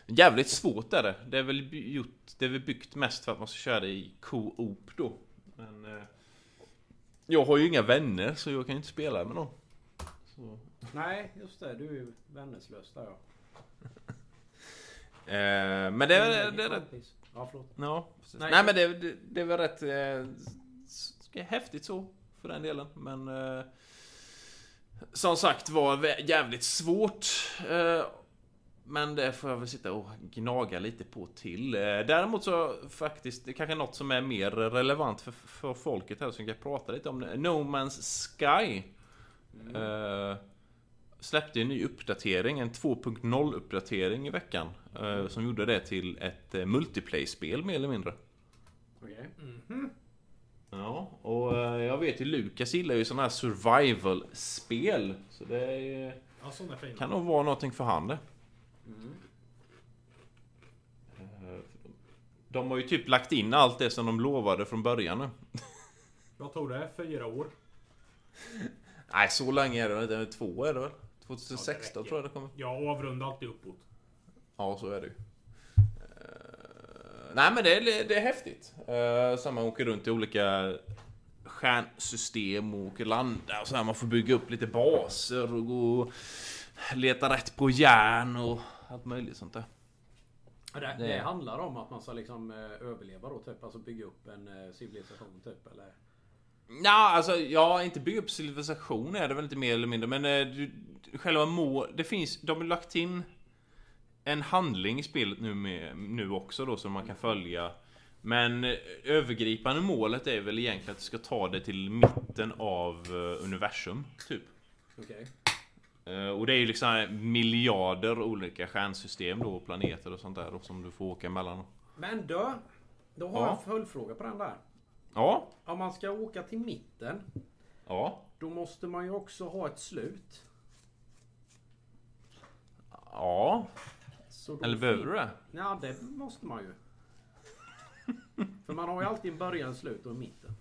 Speaker 4: jävligt svårt är det. Det är väl by- gjort, det är väl byggt mest för att man ska köra det i co-op då. Men... eh, jag har ju inga vänner så jag kan ju inte spela med någon. Så.
Speaker 3: Nej, just det. Du är ju vänneslös där ja.
Speaker 4: Eh, men det är, det är rätt...
Speaker 3: Kompis. Mm. Ja, förlåt.
Speaker 4: Ja, precis.
Speaker 3: Nej.
Speaker 4: Nej, men det, det, det var rätt eh, s- s- häftigt så, för den delen. Men eh, som sagt var vä- jävligt svårt. Eh, men det får jag väl sitta och gnaga lite på till. Eh, däremot så faktiskt, det kanske är något som är mer relevant för, för folket här som vi kan prata lite om. det. No Man's Sky. Eh, släppte en ny uppdatering, en 2.0 uppdatering i veckan. eh, Som gjorde det till ett eh, multiplay-spel mer eller mindre.
Speaker 3: Okej.
Speaker 4: Mm. Ja, och eh, jag vet ju Lukas gillar ju sådana här survival-spel. Så det är,
Speaker 2: Ja, sådana är fina.
Speaker 4: kan nog vara någonting för han det.
Speaker 3: Mm.
Speaker 4: Eh, De har ju typ lagt in allt det som de lovade från början nu.
Speaker 2: Jag tog det fyra år.
Speaker 4: Nej, så länge är det väl inte. Två är det väl? 2016 tror jag det kommer.
Speaker 2: Jag avrundar alltid uppåt.
Speaker 4: Ja, så är det ju. Eh, Nej men det är, det är häftigt. Eh, Så man åker runt i olika stjärnsystem och åker landa och så här. Man får bygga upp lite baser och gå och leta rätt på järn och allt möjligt sånt där.
Speaker 3: Det,
Speaker 4: Det-
Speaker 3: det handlar om att man ska liksom eh, överleva då typ. Alltså bygga upp en eh, civilisation typ. Eller?
Speaker 4: Nja, alltså ja, inte bygga upp civilisation är det väl inte mer eller mindre, men eh, du, själva må... Det finns... De har lagt in en handling i spelet nu, med, nu också då som man kan följa. Men eh, övergripande målet är väl egentligen att du ska ta det till mitten av eh, universum, typ.
Speaker 3: Okej.
Speaker 4: Eh, Och det är ju liksom miljarder olika stjärnsystem då, och planeter och sånt där då, som du får åka mellan.
Speaker 3: Men du. Då har
Speaker 4: Ja.
Speaker 3: jag en följdfråga på den där.
Speaker 4: Ja,
Speaker 3: Om man ska åka till mitten.
Speaker 4: ja,
Speaker 3: Då måste man ju också ha ett slut.
Speaker 4: ja.
Speaker 3: Så då
Speaker 4: Eller behöver du det?
Speaker 3: Ja, det måste man ju. För man har ju alltid en början, en slut och en mitten.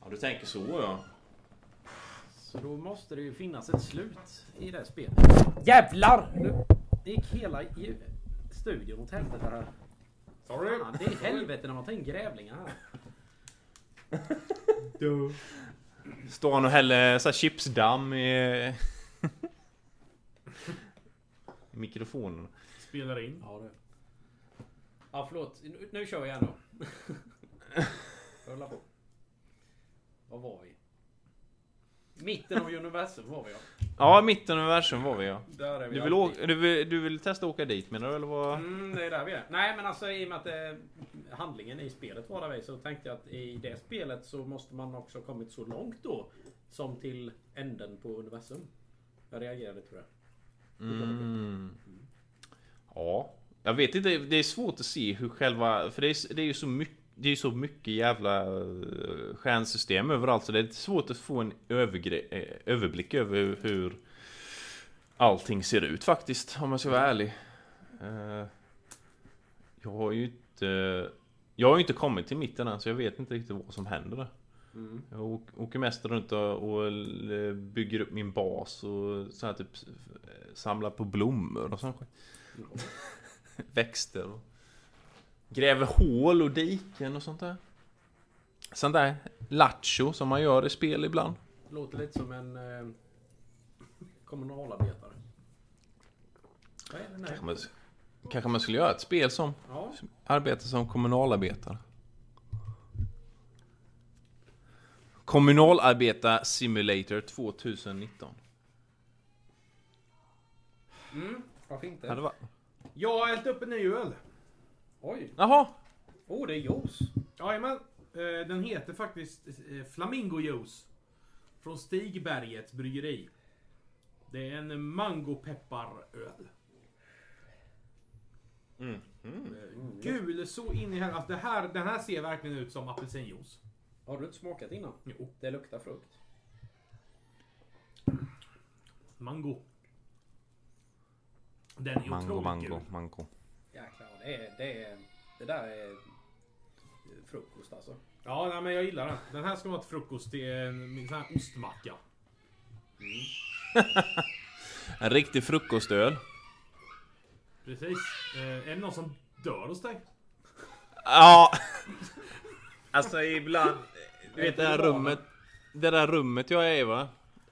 Speaker 4: Ja, du tänker så ja.
Speaker 3: Så då måste det ju finnas ett slut i det här spelet. Jävlar! Nu gick hela ju- studion åt helvete här.
Speaker 2: Sorry.
Speaker 3: Fan, det är helvete när man tar in grävlingar här.
Speaker 4: Står han och häller så här chipsdamm i... (laughs) i mikrofonen.
Speaker 2: Spelar in.
Speaker 3: Ja, det. Ja, förlåt. Nu, nu kör vi igen då. Rulla på. Var var vi? Mitten av universum var vi ja.
Speaker 4: Ja, mitten av universum var vi ja.
Speaker 3: Där är vi
Speaker 4: Du vill,
Speaker 3: alltid.
Speaker 4: åka, du, vill, du vill testa att åka dit menar du eller vad?
Speaker 3: Mm, det är där vi är. Nej men alltså i och med att eh, handlingen i spelet var där vi är, så tänkte jag att i det spelet så måste man också ha kommit så långt då. Som till änden på universum. Jag reagerade tror jag.
Speaker 4: Mm. Ja. Jag vet inte, det är svårt att se hur själva... För det är, det är ju så mycket... Det är ju så mycket jävla eh, stjärnsystem överallt så det är svårt att få en övergre- eh, överblick över hur allting ser ut faktiskt, om man ska vara ärlig. Eh, Jag har ju inte... Jag har ju inte kommit till mitten än så jag vet inte riktigt vad som händer där. Jag åk- åker mest runt och, och l- bygger upp min bas och så här typ s- eh, samlar på blommor och sånt skit. Växter och gräver hål och diken och sånt där. Sånt där lattjo som man gör i spel ibland.
Speaker 3: Låter lite som en eh, kommunalarbetare. Vad är det nu?
Speaker 4: Kanske man, s- kanske man skulle göra ett spel som
Speaker 3: Ja,
Speaker 4: arbetar som kommunalarbetare. Kommunalarbetar Simulator 2019.
Speaker 3: varför
Speaker 4: Ja, det
Speaker 3: inte?
Speaker 4: var...
Speaker 2: Jag har hällt upp en ny öl.
Speaker 3: Oj!
Speaker 4: Jaha!
Speaker 3: Åh, oh, det är juice!
Speaker 2: Jajamän. Eh, Den heter faktiskt eh, Flamingo Juice. Från Stigbergets bryggeri. Det är en mangopepparöl.
Speaker 4: Mm-hmm.
Speaker 2: Eh, Gul så in i helvete. Alltså det här, den här ser verkligen ut som apelsinjuice.
Speaker 3: Har du inte smakat innan?
Speaker 2: Jo.
Speaker 3: Det luktar frukt.
Speaker 2: Mango. Den är
Speaker 4: Mango,
Speaker 2: otroligt
Speaker 4: mango,
Speaker 2: gul.
Speaker 4: mango.
Speaker 3: Jäklar, det är... Det, är, det där är eh, frukost alltså.
Speaker 2: Ja, nej, men jag gillar den. Den här ska vara till frukost till en, min sån här ostmacka.
Speaker 4: En riktig frukostöl.
Speaker 2: Precis. Eh, är det någon som dör hos dig?
Speaker 4: Ja. Alltså ibland... Du vet det här rummet. Det där rummet jag är i va.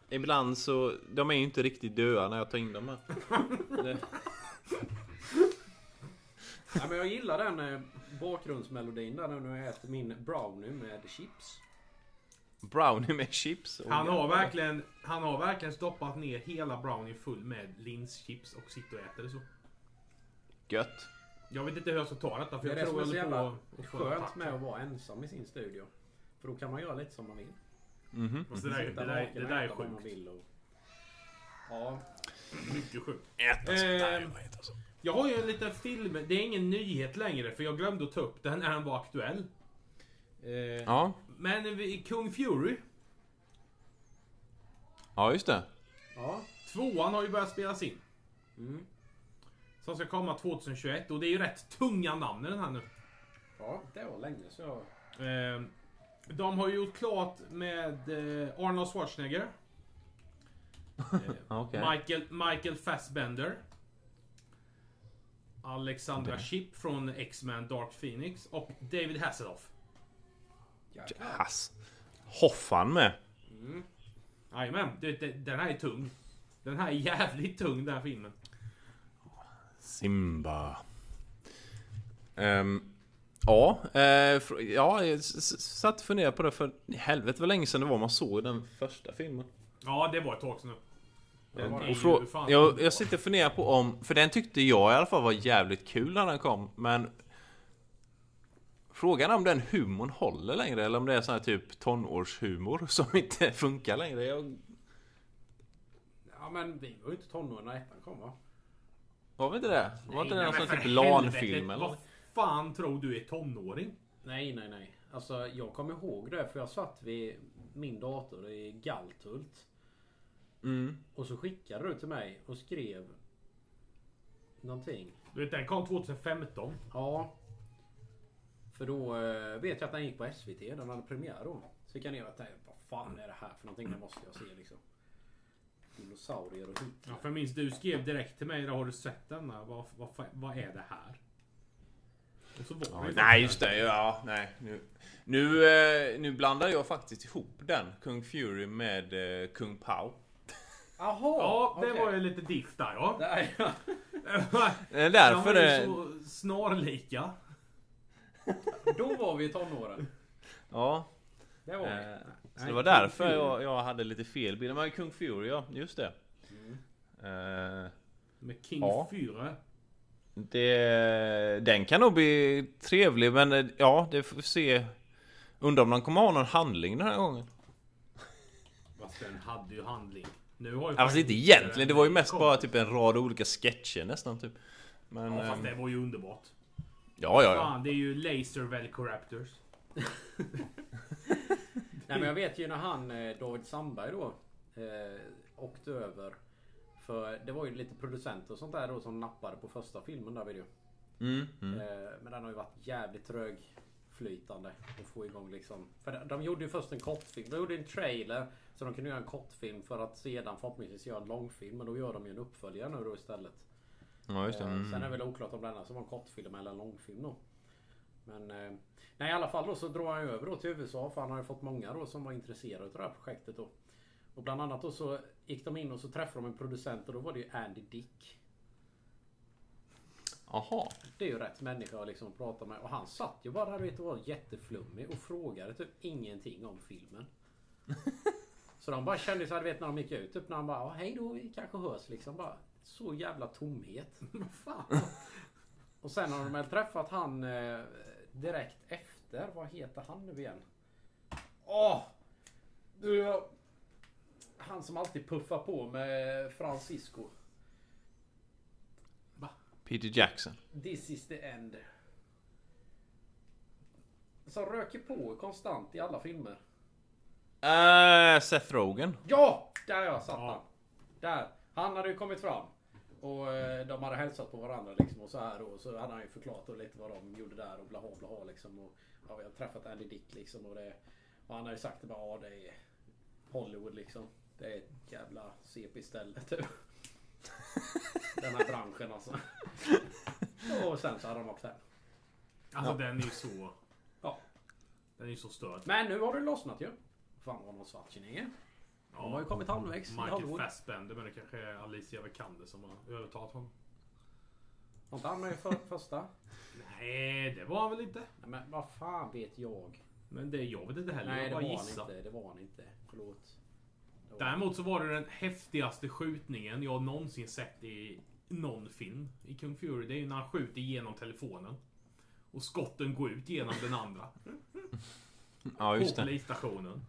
Speaker 4: Ibland så... De är ju inte riktigt döda när jag tar in dem här.
Speaker 3: Nej, men jag gillar den eh, bakgrundsmelodin där när jag äter min brownie med chips.
Speaker 4: Brownie med chips. och-
Speaker 2: Han har verkligen, han har verkligen stoppat ner hela brownie full med linschips och sitter och äter det så.
Speaker 4: Gött.
Speaker 2: Jag vet inte hur jag ska ta detta för
Speaker 3: Det är
Speaker 2: jag
Speaker 3: det som
Speaker 2: tror
Speaker 3: är så
Speaker 2: jag håller
Speaker 3: jävla
Speaker 2: på att få en
Speaker 3: skönt
Speaker 2: attack.
Speaker 3: med att vara ensam i sin studio. För då kan man göra lite som man vill.
Speaker 2: Fast Det där, det där, det där är
Speaker 3: Vad man
Speaker 2: sjukt.
Speaker 3: vill och... Ja,
Speaker 2: Mycket sjukt. Eh, jag har ju en liten film, det är ingen nyhet längre för jag glömde att ta upp den när den var aktuell. Eh,
Speaker 4: Ja.
Speaker 2: Men vi- Kung Fury,
Speaker 4: Ja just det.
Speaker 3: ja.
Speaker 2: tvåan har ju börjat spelas in.
Speaker 4: Mm.
Speaker 2: Som ska komma 2021 och det är ju rätt tunga namn i den här nu.
Speaker 3: Ja, det var länge så jag...
Speaker 2: Eh, de har ju gjort klart med eh, Arnold Schwarzenegger,
Speaker 4: Okej.
Speaker 2: Michael, Michael Fassbender, Alexandra Shipp från X-Men Dark Phoenix och David Hasselhoff.
Speaker 3: Jäklar.
Speaker 4: Hass. Hoffan med.
Speaker 2: Jajamän, du, de- den här är tung. Den här är jävligt tung den här filmen.
Speaker 4: Simba. Ehm, ja, eh, fr- ja, jag s- s- satt och funderade på det för i helvete vad länge sedan det var man såg den första filmen.
Speaker 2: Ja, det var ett tag sedan nu. Den är
Speaker 4: Och
Speaker 2: ju
Speaker 4: frå-
Speaker 2: fan
Speaker 4: jag,
Speaker 2: underbar.
Speaker 4: jag sitter och funderar på om, för den tyckte jag i alla fall var jävligt kul när den kom, men Frågan är om den humorn håller längre eller om det är sån här typ tonårshumor som inte (laughs) funkar längre. Jag,
Speaker 3: Ja men vi var ju inte tonåringar när ettan kom va?
Speaker 4: var vi inte det? Var inte det
Speaker 2: Nej,
Speaker 4: någon
Speaker 2: men
Speaker 4: sån
Speaker 2: för
Speaker 4: här typ
Speaker 2: helvete,
Speaker 4: LAN-film eller?
Speaker 2: Vad fan tror du är tonåring?
Speaker 3: Nej, nej, nej. Alltså jag kommer ihåg det för jag satt vid min dator i Galthult. Och så skickade du till mig och skrev någonting.
Speaker 2: Du vet, den kom 2015.
Speaker 3: Ja. För då eh, vet jag att den gick på SVT. Den hade premiär då. Så gick jag ner och tänkte vad fan är det här för någonting? Det måste jag se liksom. Dinosaurier och hit.
Speaker 2: Ja, för jag minns du skrev direkt till mig, har du sett den här? Vad, vad, fa- vad är det här? Och så var det ju
Speaker 4: Nej just det, ja nej. Nu, nu, eh, nu blandar jag faktiskt ihop den, Kung Fury med eh, Kung Pao.
Speaker 3: Jaha!
Speaker 2: Ja, det
Speaker 3: okej.
Speaker 2: var ju lite diff där
Speaker 4: (laughs)
Speaker 2: ja.
Speaker 3: Där, ja.
Speaker 4: Det är
Speaker 2: De
Speaker 4: Eh, därför
Speaker 2: var ju
Speaker 4: det...
Speaker 2: så snarlika.
Speaker 3: (laughs) Då var vi i tonåren.
Speaker 4: Ja.
Speaker 3: Det var vi.
Speaker 4: eh, Så det var därför jag, jag hade lite fel bild. Men Kung Fury, ja just det.
Speaker 2: Mm.
Speaker 4: Eh,
Speaker 2: Med King
Speaker 4: Ja.
Speaker 2: 4.
Speaker 4: det. Den kan nog bli trevlig men eh, ja, det får vi se. Undrar om de kommer ha någon handling den här gången.
Speaker 2: Fast den hade ju handling. Nu har ju
Speaker 4: Ja, fast
Speaker 2: faktiskt-
Speaker 4: inte egentligen, det var ju mest bara typ en rad olika sketcher nästan typ. Men...
Speaker 2: Ja, fast
Speaker 4: ehm,
Speaker 2: det var ju underbart.
Speaker 4: Ja, ja, ja.
Speaker 2: Fan, det är ju Laser Velcoraptors.
Speaker 3: Nej men jag vet ju när han eh, David Sandberg då eh, åkte över. För det var ju lite producenter och sånt där då som nappade på första filmen där vid ju.
Speaker 4: Mm, mm.
Speaker 3: Eh, men den har ju varit jävligt trögflytande att få igång liksom. För de, de gjorde ju först en kortfilm. De gjorde en trailer. Så de kunde göra en kortfilm för att sedan förhoppningsvis göra en långfilm. Men då gör de ju en uppföljare nu då istället.
Speaker 4: Ja, just det.
Speaker 3: Eh,
Speaker 4: Mm.
Speaker 3: Sen är det väl oklart om denna som var en kortfilm eller en långfilm då. Men eh, nej, i alla fall då så drar han ju över då till USA för han har ju fått många då som var intresserade av det här projektet då. Och bland annat då så gick de in och så träffade de en producent och då var det ju Andy Dick.
Speaker 4: Aha.
Speaker 3: Det är ju rätt människa att liksom prata med och han satt ju bara där vet, och var jätteflummig och frågade typ ingenting om filmen. Så de bara kände så här, du vet när de gick ut, typ när han bara "Ja, hej då, vi kanske hörs liksom bara. Så jävla tomhet. Vad fan? Och sen har de väl träffat han eh, direkt efter heter, vad heter han nu igen? Åh! Du, jag- han som alltid puffar på med Francisco.
Speaker 5: Peter Jackson.
Speaker 3: This is the end. Som röker på konstant i alla filmer.
Speaker 5: Eh, Seth Rogen.
Speaker 3: Ja! Där jag satt han. Där. Han hade ju kommit fram. Och eh, de hade hälsat på varandra liksom och så här och så hade han ju förklarat och lite vad de gjorde där och blaha blaha liksom. Och, ja, vi har träffat Andy Dick liksom och det. Och han hade ju sagt det bara, ja det är Hollywood liksom. Det är ett jävla CP-ställe typ. Den här branschen alltså. Och sen så hade de åkt hem.
Speaker 2: Alltså den är ju så...
Speaker 3: Ja.
Speaker 2: Den är ju så störd.
Speaker 3: Men nu har det lossnat ju. Fan vad någon Schwarzenegger.
Speaker 2: Ja,
Speaker 3: De har ju kommit halvvägs i
Speaker 2: Michael
Speaker 3: Hollywood.
Speaker 2: Fassbender, men det kanske är Alicia Vikander som har övertalat honom.
Speaker 3: Har inte han med i för, första?
Speaker 2: Nej, det var han väl inte.
Speaker 3: Nej, men vad fan vet jag?
Speaker 2: Men det jag vet inte heller.
Speaker 3: Nej,
Speaker 2: jag
Speaker 3: det
Speaker 2: bara
Speaker 3: var
Speaker 2: gissar.
Speaker 3: han inte. Det var han inte. Förlåt. Det var-
Speaker 2: Däremot så var det den häftigaste skjutningen jag någonsin sett i någon film i Kung Fury. Det är ju när han skjuter genom telefonen. Och skotten går ut genom den andra.
Speaker 5: (laughs) Ja,
Speaker 2: På
Speaker 5: just det.
Speaker 2: polisstationen.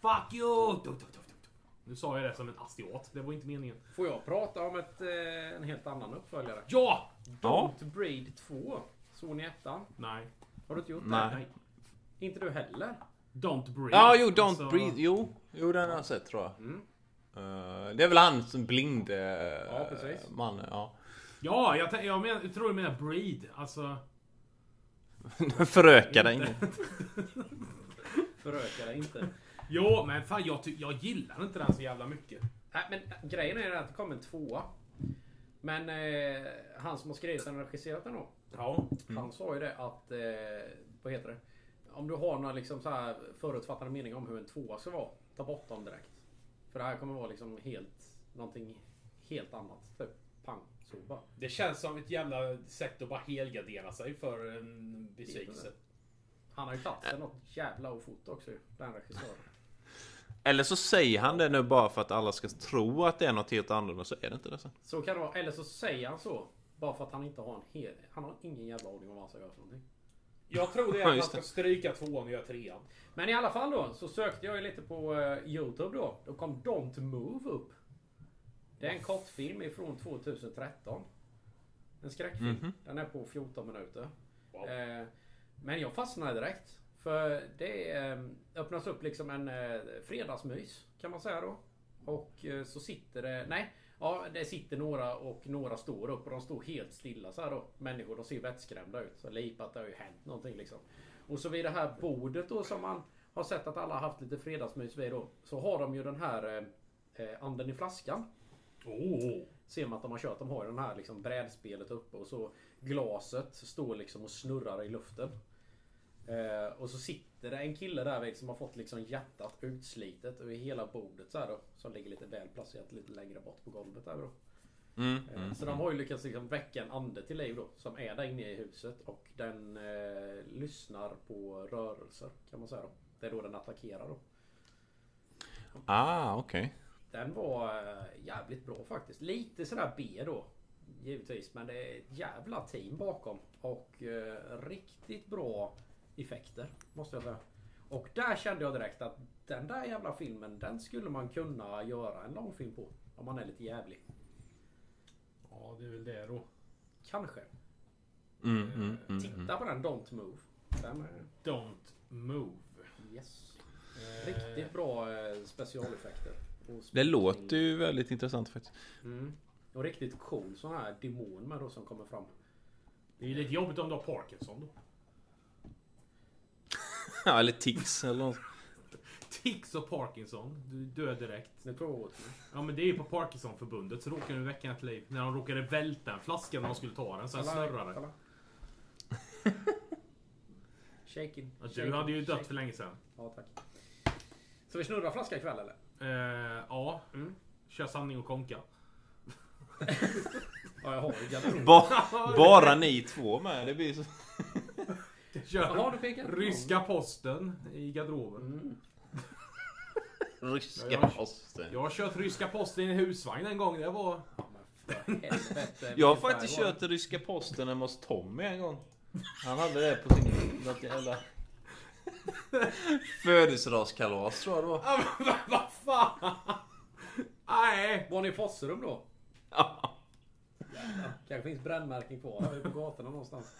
Speaker 2: Fuck you! Du, du, du, du, du. Nu sa jag det som en asiat. Det var inte meningen.
Speaker 3: Får jag prata om ett, eh, en helt annan uppföljare?
Speaker 2: Ja!
Speaker 5: Ja.
Speaker 3: Don't Braid 2. Såg ni ettan?
Speaker 2: Nej.
Speaker 3: Har du inte gjort
Speaker 5: Nej.
Speaker 2: Nej.
Speaker 3: det? Inte du heller?
Speaker 2: Don't breathe.
Speaker 5: Ja, jo, Don't
Speaker 2: Alltså,
Speaker 5: Breathe. Jo, jo, den har jag sett tror jag.
Speaker 3: Mm.
Speaker 5: Eh, det är väl han som blind uh,
Speaker 3: Ja, precis.
Speaker 5: man. (laughs) Ja.
Speaker 2: Ja, jag, tän- jag, men, jag tror du menar breed. Alltså...
Speaker 5: Föröka dig.
Speaker 3: Förökar
Speaker 2: (laughs)
Speaker 3: dig inte.
Speaker 2: Jo, men fan jag, ty- jag gillar inte den så jävla mycket.
Speaker 3: Nej, men eh, grejen är att det kom en tvåa. Men eh, han som har skrivit den och regisserat den då.
Speaker 2: Ja.
Speaker 3: Han sa ju det att, eh, vad heter det? Om du har några liksom så här förutfattade meningar om hur en tvåa ska vara, ta bort dem direkt. För det här kommer vara liksom helt, någonting helt annat. Typ pang, så bara.
Speaker 2: Det känns som ett jävla sätt att bara helgardera sig för en
Speaker 3: besvikelse. Han har ju tagit sig något jävla ofot också ju, den regissören.
Speaker 5: Eller så säger han det nu bara för att alla ska tro att det är något helt annorlunda, så är det inte det sen.
Speaker 3: Så kan det vara, eller så säger han så. Bara för att han inte har en hel, han har ingen jävla aning om vad han ska göra för någonting.
Speaker 2: Jag tror det är
Speaker 5: Ja,
Speaker 2: att man
Speaker 5: just
Speaker 2: ska
Speaker 5: det.
Speaker 2: stryka tvåan och göra trean.
Speaker 3: Men i alla fall då, så sökte jag ju lite på eh, Youtube då. Då kom Don't Move upp. Det är en kortfilm ifrån 2013. En skräckfilm. Den är på 14 minuter.
Speaker 2: Wow.
Speaker 3: Eh, men jag fastnade direkt. För det eh, öppnas upp liksom en eh, fredagsmys kan man säga då. Och eh, så sitter det, nej, ja det sitter några och några står upp och de står helt stilla så här då. Människor, de ser vettskrämda ut. Så lipat, det har ju hänt någonting liksom. Och så vid det här bordet då som man har sett att alla har haft lite fredagsmys vid då. Så har de ju den här eh, eh, anden i flaskan
Speaker 2: Oh.
Speaker 3: ser man att de har kört. De har ju den här liksom brädspelet uppe och så glaset står liksom och snurrar i luften. Eh, och så sitter det en kille där vid som har fått liksom hjärtat utslitet över hela bordet så här då. Som ligger lite väl placerat lite längre bort på golvet där då.
Speaker 5: Mm,
Speaker 3: Eh,
Speaker 4: Mm.
Speaker 3: Så de har ju lyckats liksom väcka en ande till liv då. Som är där inne i huset och den eh, lyssnar på rörelser kan man säga då. Det är då den attackerar då.
Speaker 5: Ah, okej.
Speaker 3: Den var eh, jävligt bra faktiskt. Lite sådär B då. Givetvis, men det är ett jävla team bakom. Och eh, riktigt bra effekter, måste jag säga. Och där kände jag direkt att den där jävla filmen, den skulle man kunna göra en långfilm på. Om man är lite jävlig.
Speaker 2: Ja, det är väl det då.
Speaker 3: Kanske.
Speaker 5: Mm, mm, mm.
Speaker 3: Titta på den Don't Move. Den är...
Speaker 2: Don't move.
Speaker 3: Yes. Riktigt bra eh, specialeffekter. Och
Speaker 5: Det låter ju väldigt intressant faktiskt.
Speaker 3: Mm. Och riktigt cool sån här demon med då som kommer fram.
Speaker 2: Det är ju lite jobbigt om du har Parkinson då.
Speaker 5: (laughs) Ja, eller tics eller något.
Speaker 2: Tics och Parkinson. Du dör direkt.
Speaker 3: Nu tror jag åt mig.
Speaker 2: Ja, men det är ju på Parkinsonförbundet så råkar du väcka ett liv. När de råkade välta en flaska när de skulle ta den. Sen snurrade
Speaker 5: (laughs)
Speaker 2: den.
Speaker 3: Kolla. Shaking.
Speaker 2: Ja, Alltså, Du hade ju dött för länge sedan.
Speaker 3: Ja, tack. Så vi snurrar flaska ikväll eller?
Speaker 2: Eh, ja.
Speaker 3: Mm.
Speaker 2: Kör sanning och konka.
Speaker 3: Ja, jag har
Speaker 5: (laughs)
Speaker 3: ju garderob. (laughs)
Speaker 5: Ba- bara ni två med. Det blir så...
Speaker 2: Kör
Speaker 3: Jaha, du fick en.
Speaker 2: ryska posten i garderoben.
Speaker 3: Mm.
Speaker 5: Ryska posten.
Speaker 2: Jag har kört ryska posten i en husvagn en gång. Det var... (laughs)
Speaker 3: Ja, men för helvete.
Speaker 5: Jag har
Speaker 3: Vilken
Speaker 5: faktiskt
Speaker 3: färg var
Speaker 5: kört ryska posten hemma hos Tommy en gång.
Speaker 4: Han hade det på sin... Något jävla... (laughs) Födelsedagskalas tror jag det var.
Speaker 2: Ja, men Vad vad fan? Nej.
Speaker 3: Var ni i Fosserum då?
Speaker 4: Ja.
Speaker 3: Kanske finns brännmärken kvar här ute på gatorna någonstans.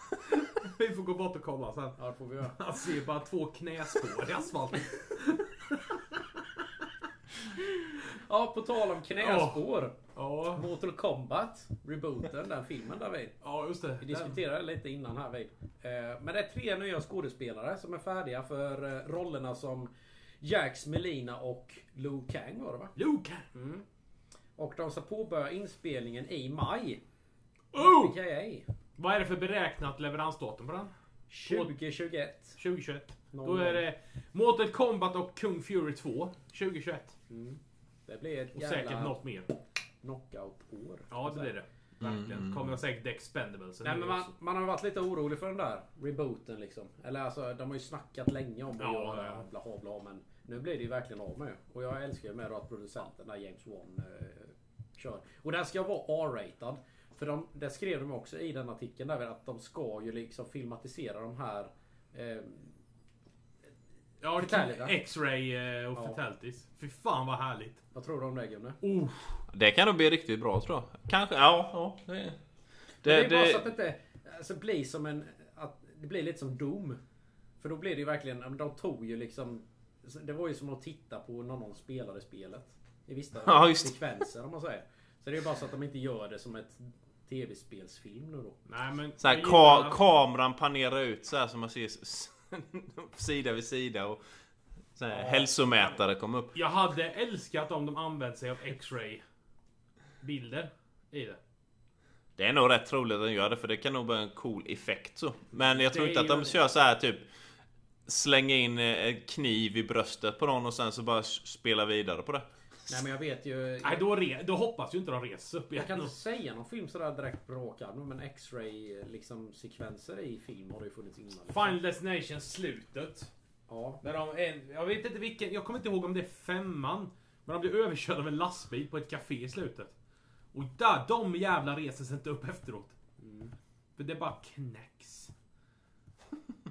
Speaker 2: Vi får gå bort och kolla sen.
Speaker 3: Ja, det får vi göra.
Speaker 2: Han ser bara två knäspår i asfalten.
Speaker 3: Ja, på tal om knäspår.
Speaker 2: Ja,
Speaker 3: Mortal Kombat, rebooten, den filmen David.
Speaker 2: ja just det.
Speaker 3: Vi
Speaker 2: Den-
Speaker 3: diskuterade det lite innan här David. Eh, Men det är tre nya skådespelare som är färdiga för eh, rollerna som Jax Melina och Liu Kang var det va?
Speaker 2: Luke!
Speaker 3: Och de ska påbörja inspelningen i maj.
Speaker 2: Oh!
Speaker 3: AKA
Speaker 2: Vad är det för beräknat leveransdatum på den?
Speaker 3: 2021.
Speaker 2: 2021. Då
Speaker 3: Någon
Speaker 2: är det Mortal Kombat och Kung Fury 2 2021.
Speaker 3: Det blir ett
Speaker 2: Och
Speaker 3: jävla
Speaker 2: säkert något mer.
Speaker 3: knockout-år.
Speaker 2: Ja, det blir det.
Speaker 3: Mm,
Speaker 2: Verkligen. Kommer säkert Expendables.
Speaker 3: Nej men man, man har varit lite orolig för den där rebooten liksom. Eller alltså de har ju snackat länge om att
Speaker 2: Ja,
Speaker 3: göra
Speaker 2: ja.
Speaker 3: bla bla bla. Men nu blir det ju verkligen av med. Och jag älskar ju med då att producenterna James Wan eh, kör. Och den ska vara R-ratad. För de, det skrev de också i den artikeln där att de ska ju liksom filmatisera de här eh,
Speaker 2: Ja,
Speaker 3: Fatality, va?
Speaker 2: X-ray eh, och
Speaker 3: Ja.
Speaker 2: fatalities. Fy fan vad härligt.
Speaker 3: vad tror du om det Gunne?
Speaker 2: Oh,
Speaker 4: Det kan nog bli riktigt bra tror jag. Kanske, ja. ja det,
Speaker 3: Det
Speaker 4: det,
Speaker 3: är bara så att
Speaker 4: det,
Speaker 3: det inte alltså, blir som en... Att det blir lite som Doom. För då blir det ju verkligen... ja, men De tog ju liksom... Det var ju som att titta på när någon spelade spelet. I vissa
Speaker 4: Ja, just det.
Speaker 3: sekvenser om man säger. Så det är ju bara så att de inte gör det som ett tv-spelsfilm nu då.
Speaker 2: nej men...
Speaker 4: så här,
Speaker 2: jag
Speaker 4: ka,
Speaker 2: gillar-
Speaker 4: kameran panerar ut så här som man ser s- (laughs) sida vid sida och så här, hälsomätare kommer upp.
Speaker 2: Jag hade älskat om de använt sig av X-ray bilder i det.
Speaker 4: Det är nog rätt troligt att de gör det för det kan nog bli en cool effekt så. Men jag tror
Speaker 2: Det
Speaker 4: inte att
Speaker 2: gör
Speaker 4: de
Speaker 2: det.
Speaker 4: kör så här typ Slänga in eh, en kniv i bröstet på någon och sen så bara s- spela vidare på det.
Speaker 3: Nej men jag vet ju...
Speaker 2: Nej,
Speaker 3: Jag,
Speaker 2: då, re, då hoppas ju inte de reser upp
Speaker 3: jag kan
Speaker 2: igen.
Speaker 3: inte säga någon film sådär direkt på rak arm, Men X-ray liksom sekvenser i film har det ju funnits innan. Liksom.
Speaker 2: Final Destination slutet.
Speaker 3: Ja.
Speaker 2: Där de en, jag vet inte vilken, jag kommer inte ihåg om det är femman. Men de blir överkörda av en lastbil på ett café i slutet. Och där, de jävla reser sig inte upp efteråt. För det bara knäcks. Eh,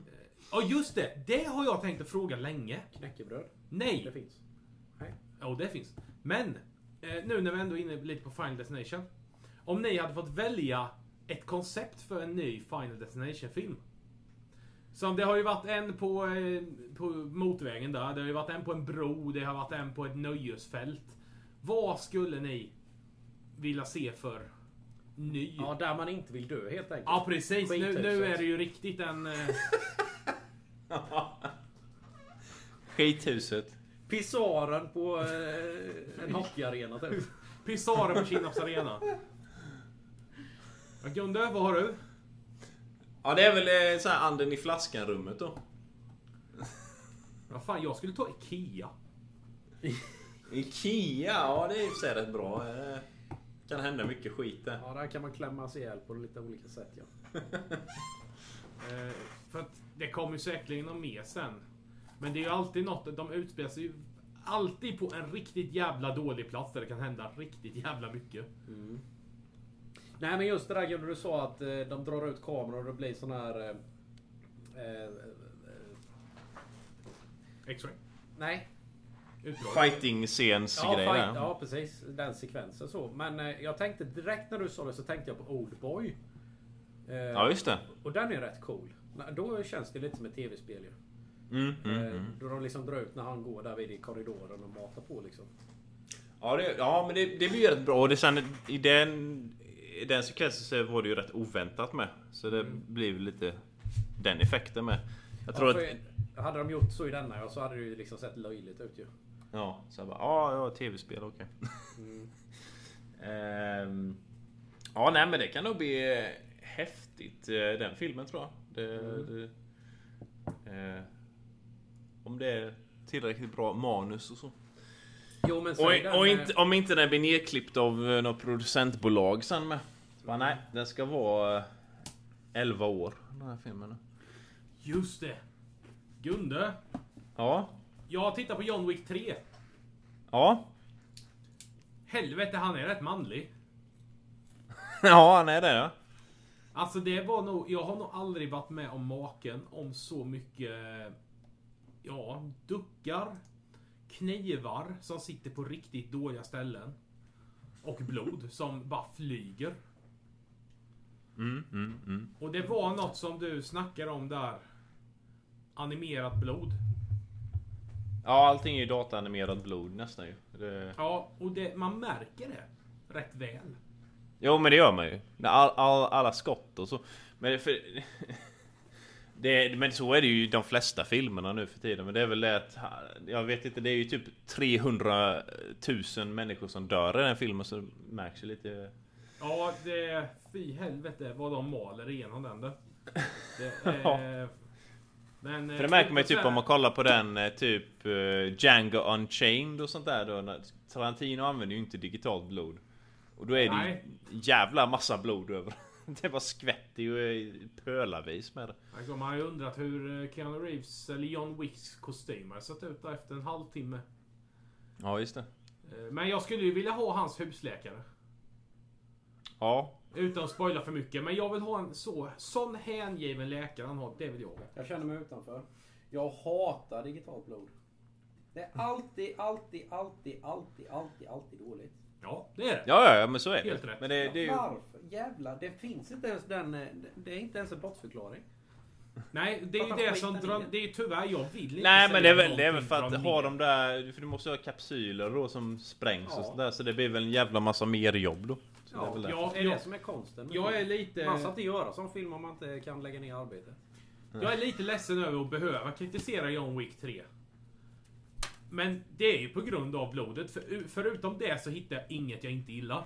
Speaker 2: Ja just det, det har jag tänkt att fråga länge.
Speaker 3: Knäckebröd.
Speaker 2: Nej!
Speaker 3: Det finns.
Speaker 2: Ja, och det finns. Men, eh, nu när vi ändå är inne lite på Final Destination. Om ni hade fått välja ett koncept för en ny Final Destination-film. Som det har ju varit en på, eh, på motorvägen där, det har ju varit en på en bro, det har varit en på ett nöjesfält. Vad skulle ni vilja se för ny?
Speaker 3: Ja,
Speaker 2: Ja,
Speaker 3: där man inte vill dö helt enkelt.
Speaker 2: precis. Nu, nu
Speaker 3: Skithuset.
Speaker 2: är det ju riktigt en... Eh,
Speaker 4: (laughs) Skithuset.
Speaker 3: Pisaren på (laughs) eh, en hockeyarena typ.
Speaker 2: Pissara på Kinnarps arena. Ja, Gunde, vad har du?
Speaker 4: Ja det är väl eh, så här anden i flaskan rummet då.
Speaker 2: Vad fan, jag skulle ta IKEA.
Speaker 4: Ikea, ja det är i och för sig rätt bra. Det kan hända mycket skit där.
Speaker 3: Ja, där kan man klämma sig ihjäl på lite olika sätt ja.
Speaker 2: Eh, för att det kommer ju säkerligen någon mer sen. Men det är ju alltid något, de utspelar sig ju alltid på en riktigt jävla dålig plats där det kan hända riktigt jävla mycket.
Speaker 3: Nej men just det där Gunnar, du sa att eh, de drar ut kameran och det blir sån här... Eh, eh, eh,
Speaker 2: X-ray.
Speaker 3: nej.
Speaker 2: Utdrag.
Speaker 4: Fighting scenes
Speaker 3: Ja,
Speaker 4: grejer
Speaker 3: fight,
Speaker 4: där.
Speaker 3: ja precis. Den sekvensen så. Men eh, jag tänkte direkt när du sa det så tänkte jag på Oldboy. Eh,
Speaker 4: Ja just det.
Speaker 3: Och den är rätt cool. Nej, Då känns det lite som ett tv-spel ju.
Speaker 4: Mm, mm,
Speaker 3: Eh,
Speaker 4: mm.
Speaker 3: Då de liksom drar ut när han går där vid i korridoren och matar på liksom.
Speaker 4: Ja, det, ja men det, det blir ju rätt bra. Och det, sen, i, den, I den sekvensen så var det ju rätt oväntat med. Så det blir väl lite den effekten med. Jag tror
Speaker 3: Mm. Ja, för
Speaker 4: att...
Speaker 3: Hade de gjort så i denna ja, så hade det ju liksom sett löjligt ut ju.
Speaker 4: Ja, så jag bara, ja, ja, tv-spel, okej.
Speaker 3: Mm.
Speaker 4: (laughs) Ehm, ja, nej men det kan nog bli eh, häftigt, eh, den filmen tror jag. Det,
Speaker 3: Mm.
Speaker 4: det, eh, om det är tillräckligt bra manus och så.
Speaker 3: Jo men säg den,
Speaker 4: Och, och
Speaker 3: eh,
Speaker 4: inte, om inte den blir nedklippt av eh, något producentbolag sen med. Så Bara, nej, den ska vara eh, 11 år, den här filmen.
Speaker 2: Just det! Gunde!
Speaker 4: Ja,
Speaker 2: Jag tittar på John Wick 3.
Speaker 4: ja, (laughs)
Speaker 2: Helvete, han är rätt manlig.
Speaker 4: ja, han är det ja.
Speaker 2: Alltså det var nog, jag har nog aldrig varit med om maken om så mycket, ja, duckar, knivar som sitter på riktigt dåliga ställen. Och blod som bara flyger.
Speaker 4: Mm, mm, mm.
Speaker 2: Och det var något som du snackade om där. Animerat blod.
Speaker 4: Ja, allting är ju dataanimerat blod nästan ju. Det...
Speaker 2: Ja, och det, man märker det rätt väl.
Speaker 4: Jo men det gör man ju. När All, all, alla skott och så. Men, för, (laughs) det, men så är det ju i de flesta filmerna nu för tiden. Men det är väl det att... Jag vet inte, det är ju typ 300 000 människor som dör i den filmen så det märks ju lite...
Speaker 2: Ja, det... Fy helvete vad de maler igenom den du.
Speaker 4: (laughs)
Speaker 2: Det, eh, men, eh,
Speaker 4: För det märker man ju typ om man kollar på den eh, typ eh, Django Unchained och sånt där då. när- Tarantino använder ju inte digitalt blod. Och då är det ju
Speaker 2: Nej.
Speaker 4: jävla massa blod över. (laughs) Det bara skvätter ju eh, pölarvis med det.
Speaker 2: Alltså, man har ju undrat hur eh, Keanu Reeves eller John Wicks kostym har sett ut där efter en halvtimme.
Speaker 4: Ja just det.
Speaker 2: Eh, Men jag skulle ju vilja ha hans husläkare.
Speaker 4: Ja.
Speaker 2: Utan att spoila för mycket. Men jag vill ha en så, sån hängiven läkare han har. Det vill jag ha.
Speaker 3: Jag känner mig utanför. Jag hatar digitalt blod. Det är alltid, alltid, alltid, alltid, alltid, alltid dåligt.
Speaker 2: Ja, det är det.
Speaker 4: Ja, ja, ja men så är
Speaker 2: Helt
Speaker 4: det.
Speaker 2: rätt.
Speaker 4: Men det, det är ju...
Speaker 3: Varför? Jävlar, det finns inte ens den... eh, Det är inte ens en brottsförklaring.
Speaker 2: Nej, det är ju
Speaker 3: Fattar
Speaker 2: det som
Speaker 3: skiten
Speaker 2: drar...
Speaker 3: i det.
Speaker 2: Det är ju tyvärr, jag vill inte
Speaker 4: Nej men det är väl, det
Speaker 2: säga
Speaker 4: är väl för att
Speaker 2: någonting
Speaker 4: ha
Speaker 2: från
Speaker 4: de där... För du måste ju ha kapsyler då som sprängs
Speaker 3: Ja.
Speaker 4: och sådär. Så det blir väl en jävla massa mer jobb då. Så det är
Speaker 3: Ja,
Speaker 4: väl det.
Speaker 2: Ja,
Speaker 3: Det är det
Speaker 2: jag,
Speaker 3: som är konsten. med
Speaker 2: jag
Speaker 3: film.
Speaker 2: är lite...
Speaker 3: Man ska inte göra sån film om man inte kan lägga ner arbetet.
Speaker 2: Jag är lite ledsen över att behöva kritisera John Wick 3. Men det är ju på grund av blodet. För, förutom det så hittar jag inget jag inte gillar.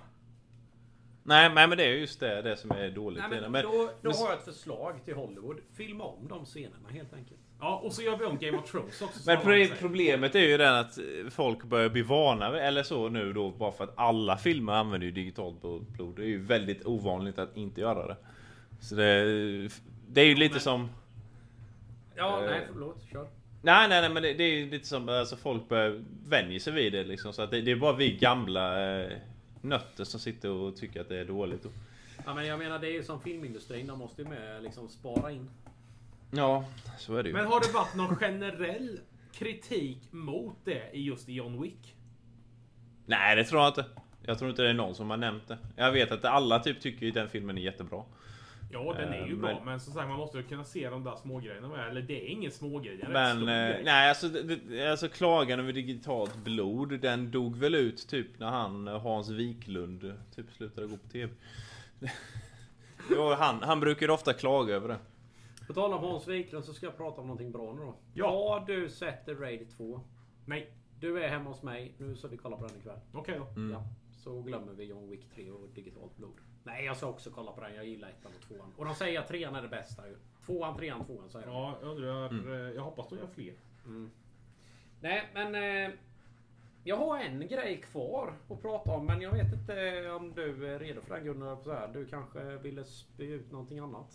Speaker 4: Nej, nej men det är ju just det, det som är dåligt
Speaker 3: Nej,
Speaker 4: i
Speaker 3: men
Speaker 4: den. Men-
Speaker 3: då, då
Speaker 4: men-
Speaker 3: har jag ett förslag till Hollywood. Filma om de scenerna helt enkelt.
Speaker 2: Ja, och så gör vi om Game of Thrones också. som
Speaker 4: Men
Speaker 2: alla
Speaker 4: pro-
Speaker 2: säger.
Speaker 4: problemet är ju den att eh, folk börjar bli vana vid- eller så nu då bara för att alla filmer använder ju digitalt bl- blod. Det är ju väldigt ovanligt att inte göra det. Så det, det är ju lite
Speaker 2: men-
Speaker 4: som...
Speaker 3: Ja,
Speaker 4: Eh.
Speaker 3: nej förlåt. Kör.
Speaker 4: Nej, nej, nej, men det, det är ju lite som alltså folk börjar vänja sig vid det liksom. Så att det, det är bara vi gamla eh, nötter som sitter och tycker att det är dåligt. Då.
Speaker 3: Ja, men jag menar det är ju som filmindustrin. De måste ju med liksom spara in.
Speaker 4: Ja, så är det ju.
Speaker 2: Men har det varit någon generell kritik mot det i just John Wick?
Speaker 4: Nej, det tror jag inte. Jag tror inte det är någon som har nämnt det. Jag vet att alla typ tycker ju den filmen är jättebra.
Speaker 2: Ja, den är ju
Speaker 4: Eh,
Speaker 2: bra,
Speaker 4: men-
Speaker 2: men som sagt man måste ju kunna se de där smågrejerna med. Eller det är ingen smågrej, det är en rätt
Speaker 4: Men
Speaker 2: stor
Speaker 4: eh,
Speaker 2: grej.
Speaker 4: nej, alltså, det- det, alltså klagan över digitalt blod, den dog väl ut typ när han eh, Hans Wiklund eh, typ slutade gå på (laughs) TV. jo, han, han brukar ofta klaga över det.
Speaker 3: På tal om Hans Wiklund så ska jag prata om någonting bra nu då.
Speaker 2: Ja.
Speaker 3: Har du sett The Raid 2?
Speaker 2: Nej,
Speaker 3: Du är hemma hos mig nu så vi kollar på den ikväll.
Speaker 2: okej då.
Speaker 3: Ja, så glömmer vi John Wick 3 och digitalt blod. Nej, jag ska också kolla på den. Jag gillar ettan och tvåan. Och de säger att trean är det bästa ju. Tvåan, trean, tvåan säger de.
Speaker 2: Ja, jag undrar. eh, Jag hoppas de gör fler.
Speaker 3: Mm. Nej, men... Eh, jag har en grej kvar att prata om, men jag vet inte om du är redo för den Gunnar. Så här, du kanske ville spy ut någonting annat?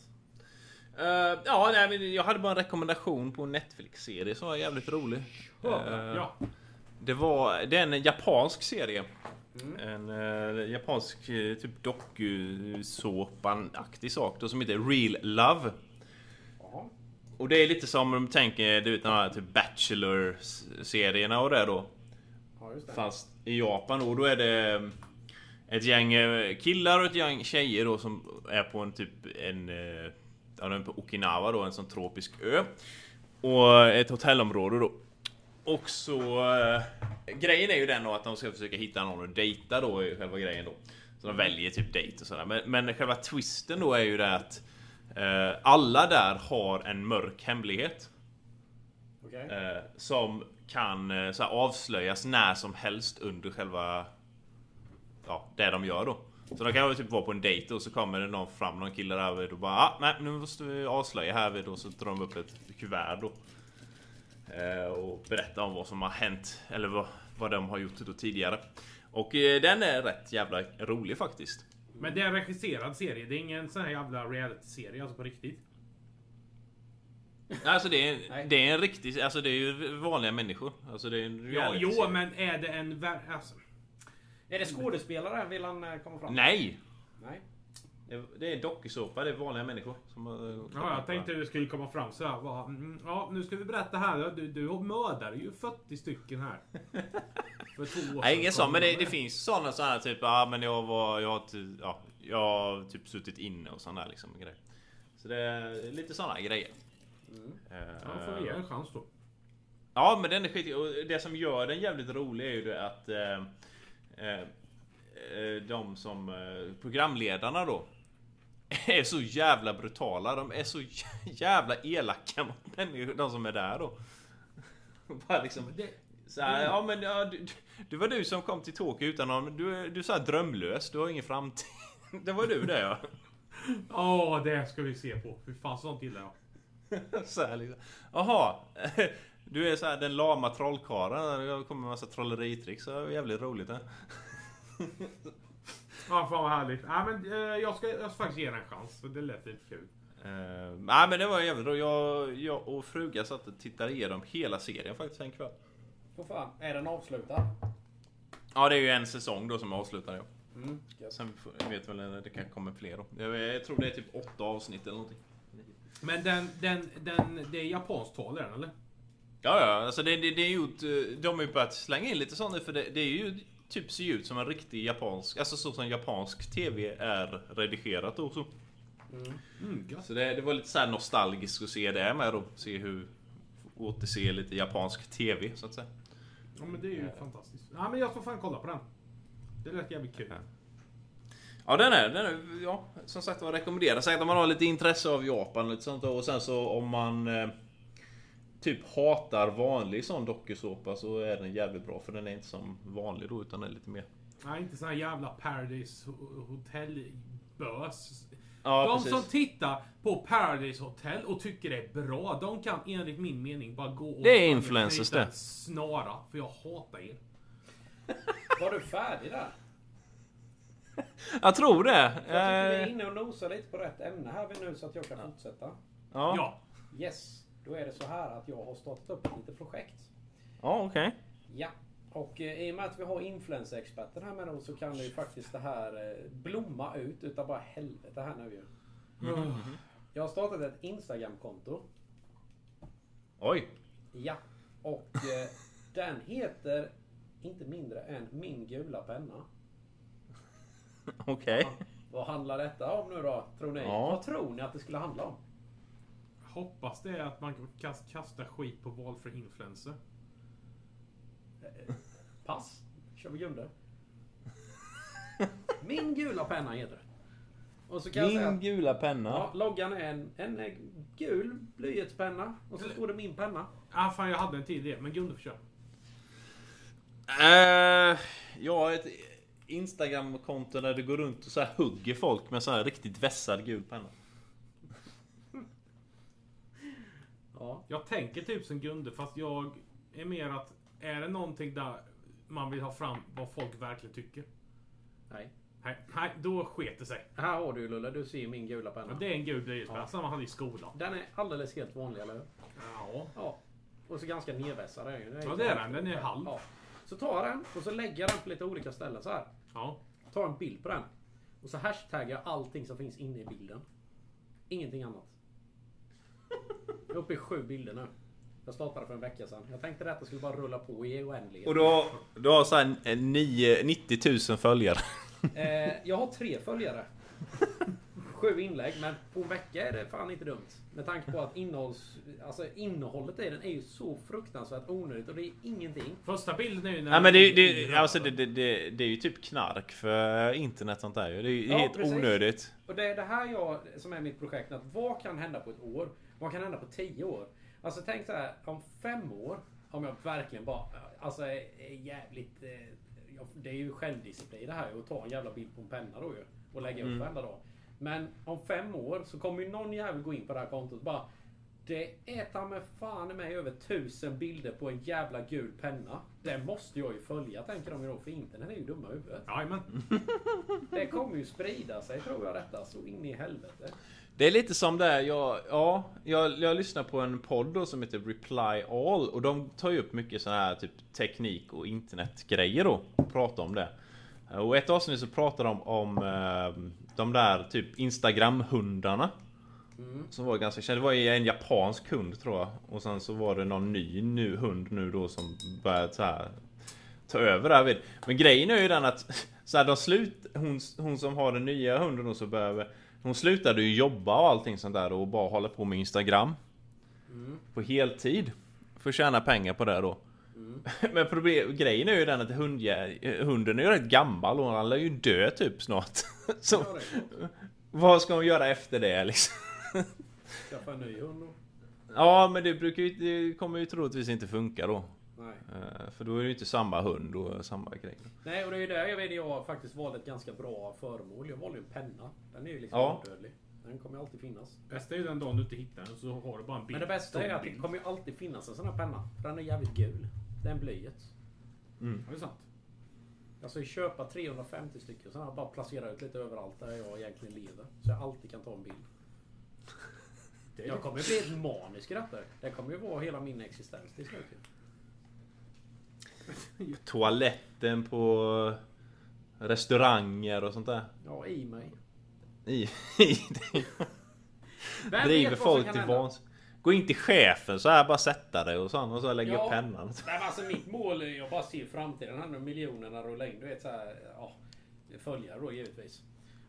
Speaker 4: Eh, ja, nej, men jag hade bara en rekommendation på en Netflix-serie som var jävligt rolig. Eh,
Speaker 2: Ja,
Speaker 4: Det var, det är en japansk serie.
Speaker 2: Mm.
Speaker 4: En eh, japansk eh, typ dokusåpan-aktig sak då, som heter Real Love.
Speaker 3: Jaha.
Speaker 4: Och det är lite som de tänker, du vet de här typ Bachelor-serierna och det då.
Speaker 3: Ja, just det.
Speaker 4: Fast i Japan då, då är det eh, ett gäng eh, killar och ett gäng tjejer då som är på en typ en... eh, Ja, de är på Okinawa då, en sån tropisk ö. Och ett hotellområde då. Och så... eh, Grejen är ju den då att de ska försöka hitta någon att dejta då, är själva grejen då. Så de väljer typ dejt och sådär. Men, men själva twisten då är ju det att eh, alla där har en mörk hemlighet.
Speaker 3: Okej.
Speaker 4: Eh, som kan eh, så här, avslöjas när som helst under själva ja, det de gör då. Så de kan väl typ vara på en dejt och så kommer det någon fram, någon kille där och då bara ah, nej nu måste vi avslöja här vid och så drar de upp ett kuvert då. Eh, och berättar om vad som har hänt eller vad, vad de har gjort då tidigare. Och eh, den är rätt jävla rolig faktiskt.
Speaker 2: Men det är en regisserad serie. Det är ingen sån här jävla reality-serie, alltså på riktigt.
Speaker 4: Alltså det
Speaker 3: Nej.
Speaker 4: är, det är en riktig, alltså det är ju vanliga människor. Alltså det är en
Speaker 2: Ja,
Speaker 4: reality-
Speaker 2: jo, men är det en... ver- Alltså,
Speaker 3: Är det skådespelare? Vill han eh, komma fram?
Speaker 4: Nej!
Speaker 3: Nej.
Speaker 4: Det, det är en dokusåpa, det är vanliga människor som har... eh,
Speaker 2: Ja, jag tänkte du skulle komma fram så här. Bara, mm, ja, nu ska vi berätta här. Du, du mördade ju 40 stycken
Speaker 4: (laughs)
Speaker 2: här. För två år
Speaker 4: Nej
Speaker 2: sedan
Speaker 4: inget sånt,
Speaker 2: kom
Speaker 4: men det,
Speaker 2: de.
Speaker 4: det finns sådana sådana här typ, ja men jag var, jag har ty- ja, jag har typ suttit inne och sådana där liksom grejer. Så det är lite sådana grejer. Eh,
Speaker 2: Ja, får vi ge en chans då.
Speaker 4: Ja men den är skitig och det som gör den jävligt rolig är ju det att eh, eh, eh, de som eh, programledarna då (laughs) är så jävla brutala. De är så jä- jävla elaka mot människor, de som är där då. (laughs) Bara liksom,
Speaker 2: Det,
Speaker 4: så här, ja men ja, du, det var du som kom till Tokyo utan någon, du, är- du är så här drömlös, du har ingen framtid. (laughs) Det var du det ja.
Speaker 2: åh, det ska vi se på. Fy fan, sånt gillar jag.
Speaker 4: (laughs) Så här liksom. Jaha. (laughs) Du är så här den lama trollkarlen. Jag kommer med massa trolleritricks. Så det är jävligt roligt. eh. Det.
Speaker 2: Ja, fan vad härligt. Ja, men, eh, jag, ska, jag ska faktiskt ge den en chans. för Det lät lite kul.
Speaker 4: Uh, nej men det var jävligt roligt. Jag, jag och frugan satt och tittade igenom hela serien faktiskt en kväll.
Speaker 3: Vad fan, är den avslutad?
Speaker 4: Ja det är ju en säsong då som avslutar jag.
Speaker 3: Mm. gött.
Speaker 4: Sen får- jag vet väl eh, det kan komma fler då. Jag, jag tror det är typ åtta avsnitt eller någonting.
Speaker 2: Men den, den, den, det är japanskt tal är den eller?
Speaker 4: Ja, ja, alltså det, det, det är gjort, eh, de har ju börjat slänga in lite sånt nu för det, det är ju typ ser ut som en riktig japansk, alltså så som japansk TV är redigerat och så.
Speaker 2: Mm, gött.
Speaker 4: Så det, det var lite så här nostalgiskt att se det med då, se hur, återse lite japansk TV så att säga.
Speaker 2: Ja, men det är ju
Speaker 4: Eh.
Speaker 2: fantastiskt. Ja, men jag ska fan kolla på den. Det lät jävligt kul.
Speaker 4: Ja den är, den är ja, som sagt var rekommenderas säkert om man har lite intresse av Japan och lite sånt och sen så om man eh, typ hatar vanlig sån dokusåpa så är den jävligt bra för den är inte som vanlig då utan den är lite mer
Speaker 2: Nej, inte sån här jävla Paradise Hotel-bös.
Speaker 4: Ja,
Speaker 2: de
Speaker 4: precis.
Speaker 2: som tittar på Paradise Hotel och tycker det är bra, de kan enligt min mening bara gå och...
Speaker 4: Det är influencers
Speaker 2: knyta en
Speaker 4: det.
Speaker 2: Snara, för jag hatar er.
Speaker 3: Var du färdig där?
Speaker 4: Jag tror det.
Speaker 3: Jag tycker vi är
Speaker 4: Eh,
Speaker 3: inne och nosar lite på rätt ämne här nu så att jag kan fortsätta.
Speaker 4: ja, ja.
Speaker 2: Ja.
Speaker 3: Yes, då är det så här att jag har startat upp ett litet projekt.
Speaker 4: okej.
Speaker 3: Ja, och eh, i och med att vi har influencerexperten här med oss så kan det ju faktiskt det här eh, blomma ut utan bara helvete här nu ju.
Speaker 4: Mm.
Speaker 3: Jag har startat ett Instagram-konto.
Speaker 4: Oj.
Speaker 3: Ja, och eh, den heter inte mindre än Min gula penna.
Speaker 4: Okej.
Speaker 3: Vad handlar detta om nu då, tror ni?
Speaker 4: Ja.
Speaker 3: Vad tror ni att det skulle handla om?
Speaker 2: Hoppas det är att man kan kas- kasta skit på valfri influencer.
Speaker 3: Pass. Kör vi grunder. Min gula penna heter det. Och så kan jag säga
Speaker 6: Min
Speaker 3: att
Speaker 6: gula penna.
Speaker 3: ja, loggan är en, en eh, gul blyertspenna och så står det min penna.
Speaker 2: Ah, fan, jag hade en till idé, men Gunde får köra.
Speaker 4: Eh, ja, ett Instagram-konto där du går runt och så här hugger folk med så här riktigt vässad gul penna.
Speaker 3: Ja.
Speaker 2: Jag tänker typ som Gunde, fast jag är mer att... Är det någonting där man vill ha fram vad folk verkligen tycker?
Speaker 3: Nej.
Speaker 2: Nej, nej då sket det sig.
Speaker 3: Här har du Lulle, du ser min gula
Speaker 2: Ja,
Speaker 3: penna.
Speaker 2: det är en gul blyertspenna, samma hade i skolan.
Speaker 3: Den är alldeles helt vanlig, eller hur?
Speaker 2: Ja.
Speaker 3: Ja. Och så ganska nedvässad är den ju.
Speaker 2: Ja, det är den. Den är halv.
Speaker 3: Ja. Så tar jag den och så lägger jag den på lite olika ställen så här.
Speaker 2: ja.
Speaker 3: Tar en bild på den. Och så hashtaggar jag allting som finns inne i bilden. Ingenting annat. Jag är uppe i sju bilder nu. Jag startade för en vecka sedan. Jag tänkte detta skulle bara rulla på i oändlighet.
Speaker 4: Och du har, du har så här en nio- 90 000 (laughs) följare.
Speaker 3: Eh, jag har tre följare. Sju inlägg, men på en vecka är det fan inte dumt. Med tanke på att innehålls, alltså innehållet i den är ju så fruktansvärt onödigt och det är ingenting.
Speaker 2: Första bilden är ju när...
Speaker 4: Nej men det, är- det, är- alltså, det, det, det, det är ju typ knark för internet sånt där ju. Det är ju
Speaker 3: Ja,
Speaker 4: helt
Speaker 3: precis.
Speaker 4: onödigt.
Speaker 3: Och det är det här jag, som är mitt projekt. Att vad kan hända på ett år? Vad kan hända på tio år? Alltså tänk så här, om fem år, om jag verkligen bara, alltså är, är jävligt, eh, jag- det är ju självdisciplin det här att ta en jävla bild på en penna då ju. Och lägga upp varenda dag. Men om fem år så kommer ju någon jävel gå in på det här kontot och bara det är ta med fan i mig över tusen bilder på en jävla gul penna. Det måste jag ju följa tänker de ju då för internet är ju dumma i huvudet.
Speaker 2: Jajamän.
Speaker 3: Det kommer ju sprida sig tror jag detta så in i helvete.
Speaker 4: Det är lite som det här, jag, ja, jag, jag lyssnar på en podd då som heter Reply All och de tar ju upp mycket sån här typ teknik och internetgrejer då. och Pratar om det. Och i ett avsnitt så pratar de om eh, de där typ Instagram-hundarna. Som var ganska kända. Det var en japansk hund tror jag. Och sen så var det någon ny nu, hund nu då som började så här ta över där vid. Men grejen är ju den att (laughs) så här, de slut, hon, hon som har den nya hunden och så behöver Hon slutade ju jobba och allting sånt där och bara hålla på med Instagram På heltid För att tjäna pengar på det då (laughs) Men problem, grejen är ju den att hundjä- hunden är ju rätt gammal och han lär ju dö typ snart (laughs) så, Vad ska hon göra efter det liksom?
Speaker 3: Skaffa en ny hund då?
Speaker 4: Ja men det brukar ju, det kommer ju troligtvis inte funka då
Speaker 3: Nej.
Speaker 4: Eh, För då är det ju inte samma hund och samma grej
Speaker 3: Nej, och det är ju där jag vet jag faktiskt valde ett ganska bra föremål. Jag valde ju en penna. Den är ju liksom
Speaker 4: Ja.
Speaker 3: odödlig. Den kommer ju alltid finnas.
Speaker 2: Bästa är ju den dagen du inte hittar den så har du bara en bild.
Speaker 3: Men det bästa är att det
Speaker 2: Bild.
Speaker 3: kommer ju alltid finnas en sån här penna. För den är jävligt gul. Den blyet.
Speaker 2: Ja, Det är sant.
Speaker 3: Alltså köpa 350 stycken sådana här. Bara placera ut lite överallt där jag egentligen lever. Så jag alltid kan ta en bild.
Speaker 2: (laughs) Det är
Speaker 3: Jag
Speaker 2: jag
Speaker 3: kommer ju bli ett manisk i detta. Det kommer ju vara hela min existens till slut. ju.
Speaker 4: toaletten på restauranger och sånt där.
Speaker 3: Ja, i mig.
Speaker 4: I, i,
Speaker 3: Vem
Speaker 4: driver
Speaker 3: vet vad som
Speaker 4: folk
Speaker 3: kan
Speaker 4: till
Speaker 3: hända?
Speaker 4: vans. Gå in till chefen så här bara sätta dig och så och så lägger
Speaker 3: Ja.
Speaker 4: upp pennan.
Speaker 3: Nej, men alltså mitt mål, är- jag bara ser framtiden här nu. Miljonerna rullar in. Du vet så här, ja, följare då givetvis.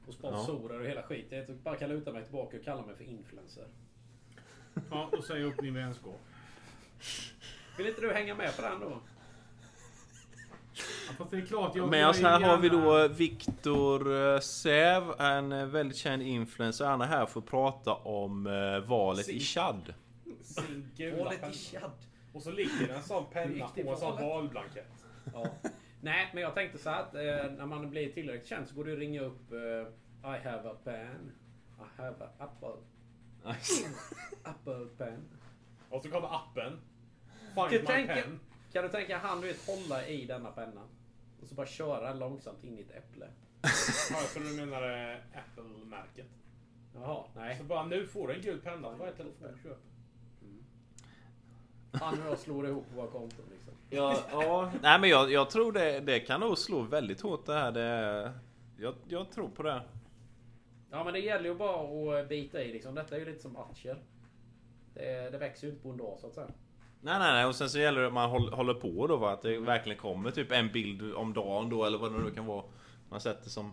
Speaker 3: Och sponsorer och hela skiten. Jag bara kan luta mig tillbaka och kalla mig för influencer.
Speaker 2: Ja, och säga upp din vänskap.
Speaker 3: Vill inte du hänga med på den då?
Speaker 2: Ja, Fast det är klart, jag
Speaker 4: Med
Speaker 2: jag
Speaker 4: oss
Speaker 2: är
Speaker 4: alltså, här har vi
Speaker 2: gärna-
Speaker 4: då Viktor eh, Säv, en eh, väldigt känd influencer. Han är här för att prata om eh, valet
Speaker 3: (laughs)
Speaker 4: i Chad.
Speaker 2: Sin gula penna. Och så ligger det en sån penna
Speaker 3: Gick det
Speaker 2: på en sån
Speaker 3: valet?
Speaker 2: valblankett.
Speaker 3: Ja. Nej, men jag tänkte så här att eh, när man blir tillräckligt känd så går det att ringa upp eh, I have a pen. I have a apple. Apple pen.
Speaker 2: Och så kommer appen. Find
Speaker 3: Kan
Speaker 2: my
Speaker 3: du, tänka,
Speaker 2: pen.
Speaker 3: kan du tänka han du vet hålla i denna penna? Och så bara köra långsamt in i ett äpple.
Speaker 2: Ja, jag tror du menar eh, Apple-märket.
Speaker 3: Jaha, nej.
Speaker 2: Så bara nu får du en gul penna. Vad är telefonen? Köp.
Speaker 3: Mm. Han och jag slår ihop våra konton liksom.
Speaker 4: Ja, ja. Nej men jag, jag tror det, det kan nog slå väldigt hårt det här. Det, jag, jag tror på det.
Speaker 3: Ja men det gäller ju bara att bita i liksom. Detta är ju lite som aktier. Det, det växer ju inte på en dag så att säga.
Speaker 4: Nej, nej, nej. Och sen så gäller det att man håll- håller på då. Va? Att
Speaker 3: Mm.
Speaker 4: det verkligen kommer typ en bild om dagen då, eller vad det nu kan vara. Man sätter som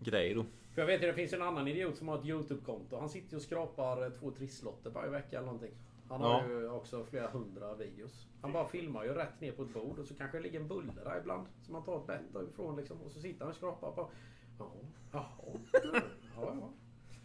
Speaker 4: grej då.
Speaker 3: För jag vet ju det finns ju en annan idiot som har ett YouTube-konto. Han sitter ju och skrapar eh, två trisslotter varje vecka eller någonting. Han har
Speaker 4: Ja.
Speaker 3: ju också flera hundra videos. Han bara filmar ju rätt ner på ett bord och så kanske det ligger en bulle där ibland. Som han tar ett bett ifrån liksom. Och så sitter han och skrapar på. Ja, ja,
Speaker 4: (laughs)
Speaker 3: ja, ja.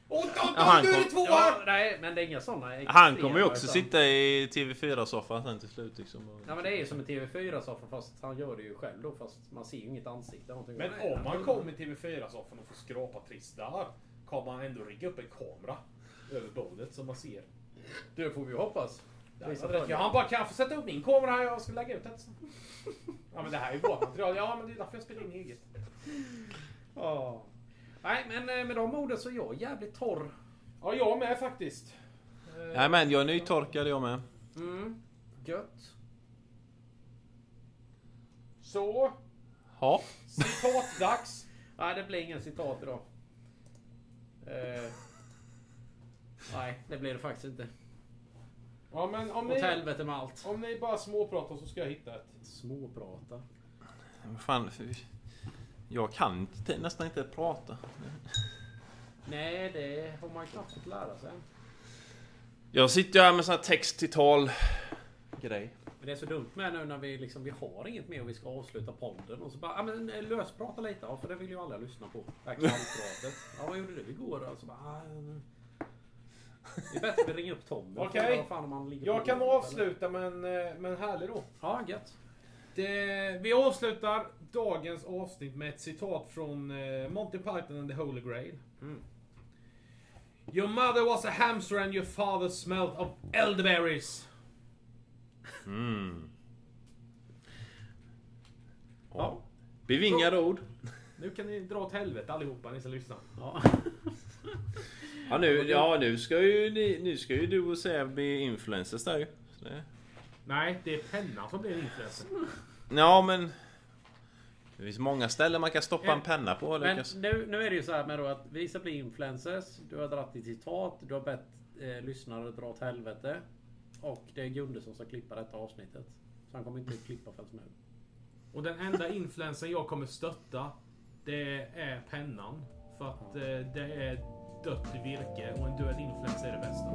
Speaker 2: Och Tompa,
Speaker 4: Ja, han
Speaker 2: nu är
Speaker 4: kom-
Speaker 2: det två
Speaker 3: ja
Speaker 2: här!
Speaker 3: nej, men det är inga sådana
Speaker 4: Han kommer
Speaker 3: extrema,
Speaker 4: ju också
Speaker 3: utan-
Speaker 4: sitta i TV4-soffan sen till slut liksom. Och-
Speaker 3: Ja men det är ju som en TV4-soffa fast han gör det ju själv då fast man ser ju inget ansikte. någonting.
Speaker 2: Men
Speaker 3: Nej,
Speaker 2: om
Speaker 3: han-
Speaker 2: man kommer till TV4-soffan och får skrapa trist där. Kommer man ändå rigga upp en kamera. Över bordet som man ser.
Speaker 3: Det får vi ju hoppas. Vissa följer.
Speaker 2: Ja, han bara kan jag få sätta upp min kamera här? Jag ska lägga ut ett. (laughs) Ja men det här är ju vårt material. Ja men det är därför jag spelar in eget.
Speaker 3: Ja. Nej men eh, med de orden så är jag jävligt torr.
Speaker 2: Ja jag med faktiskt.
Speaker 4: Nej men jag är nytorkad jag med.
Speaker 3: Mm. Gött.
Speaker 2: Så.
Speaker 4: Ja.
Speaker 2: Citatdags.
Speaker 3: Nej det blir ingen citat idag. Eh. Nej det blir det faktiskt inte.
Speaker 2: Ja men om
Speaker 3: Åt
Speaker 2: ni,
Speaker 3: helvete med allt.
Speaker 2: om ni bara småpratar så ska jag hitta ett.
Speaker 3: Småprata.
Speaker 4: Fan. Jag kan inte, nästan inte prata.
Speaker 3: Nej det har man knappt fått lära sig.
Speaker 4: Jag sitter ju här med sån här text till tal grej.
Speaker 3: Men det är så dumt med nu när vi liksom, vi har inget mer och vi ska avsluta podden och så bara, ja men eh, lösprata lite, ja för det vill ju alla lyssna på. Det här kallpratet. Ja vad gjorde du igår? Och så bara, ah, eh. det är bättre att vi ringer upp Tommy. och
Speaker 2: Okej.
Speaker 3: frågar vad fan om han ligger på
Speaker 2: Jag kan
Speaker 3: golvet, eller?
Speaker 2: avsluta med en, eh, med en härlig då.
Speaker 3: Ja, gött.
Speaker 2: Det, vi avslutar dagens avsnitt med ett citat från eh, Monty Python and the Holy Grail. Your mother was a hamster and your father smelled of elderberries.
Speaker 4: Ja. Bevingade ord.
Speaker 2: Nu kan ni dra åt helvete allihopa ni som lyssnar.
Speaker 3: Ja.
Speaker 4: Ja nu, ja, nu, ska, ju, ni, nu ska ju du och Säv bli influencers där ju. Så det-
Speaker 2: Nej, det är pennan som blir influencer.
Speaker 4: Ja men...
Speaker 5: Det finns många ställen man kan stoppa en penna på
Speaker 3: Men
Speaker 5: Lukas.
Speaker 3: nu, nu är det ju så här med då att vissa blir influencers. Du har dragit ditt citat. Du har bett eh, lyssnare dra åt helvete. Och det är Gunde som ska klippa detta avsnittet. Så han kommer inte att klippa förrän nu.
Speaker 2: Och den enda influensen jag kommer stötta, det är pennan. För att eh, det är dött virke och en död influens är det bästa.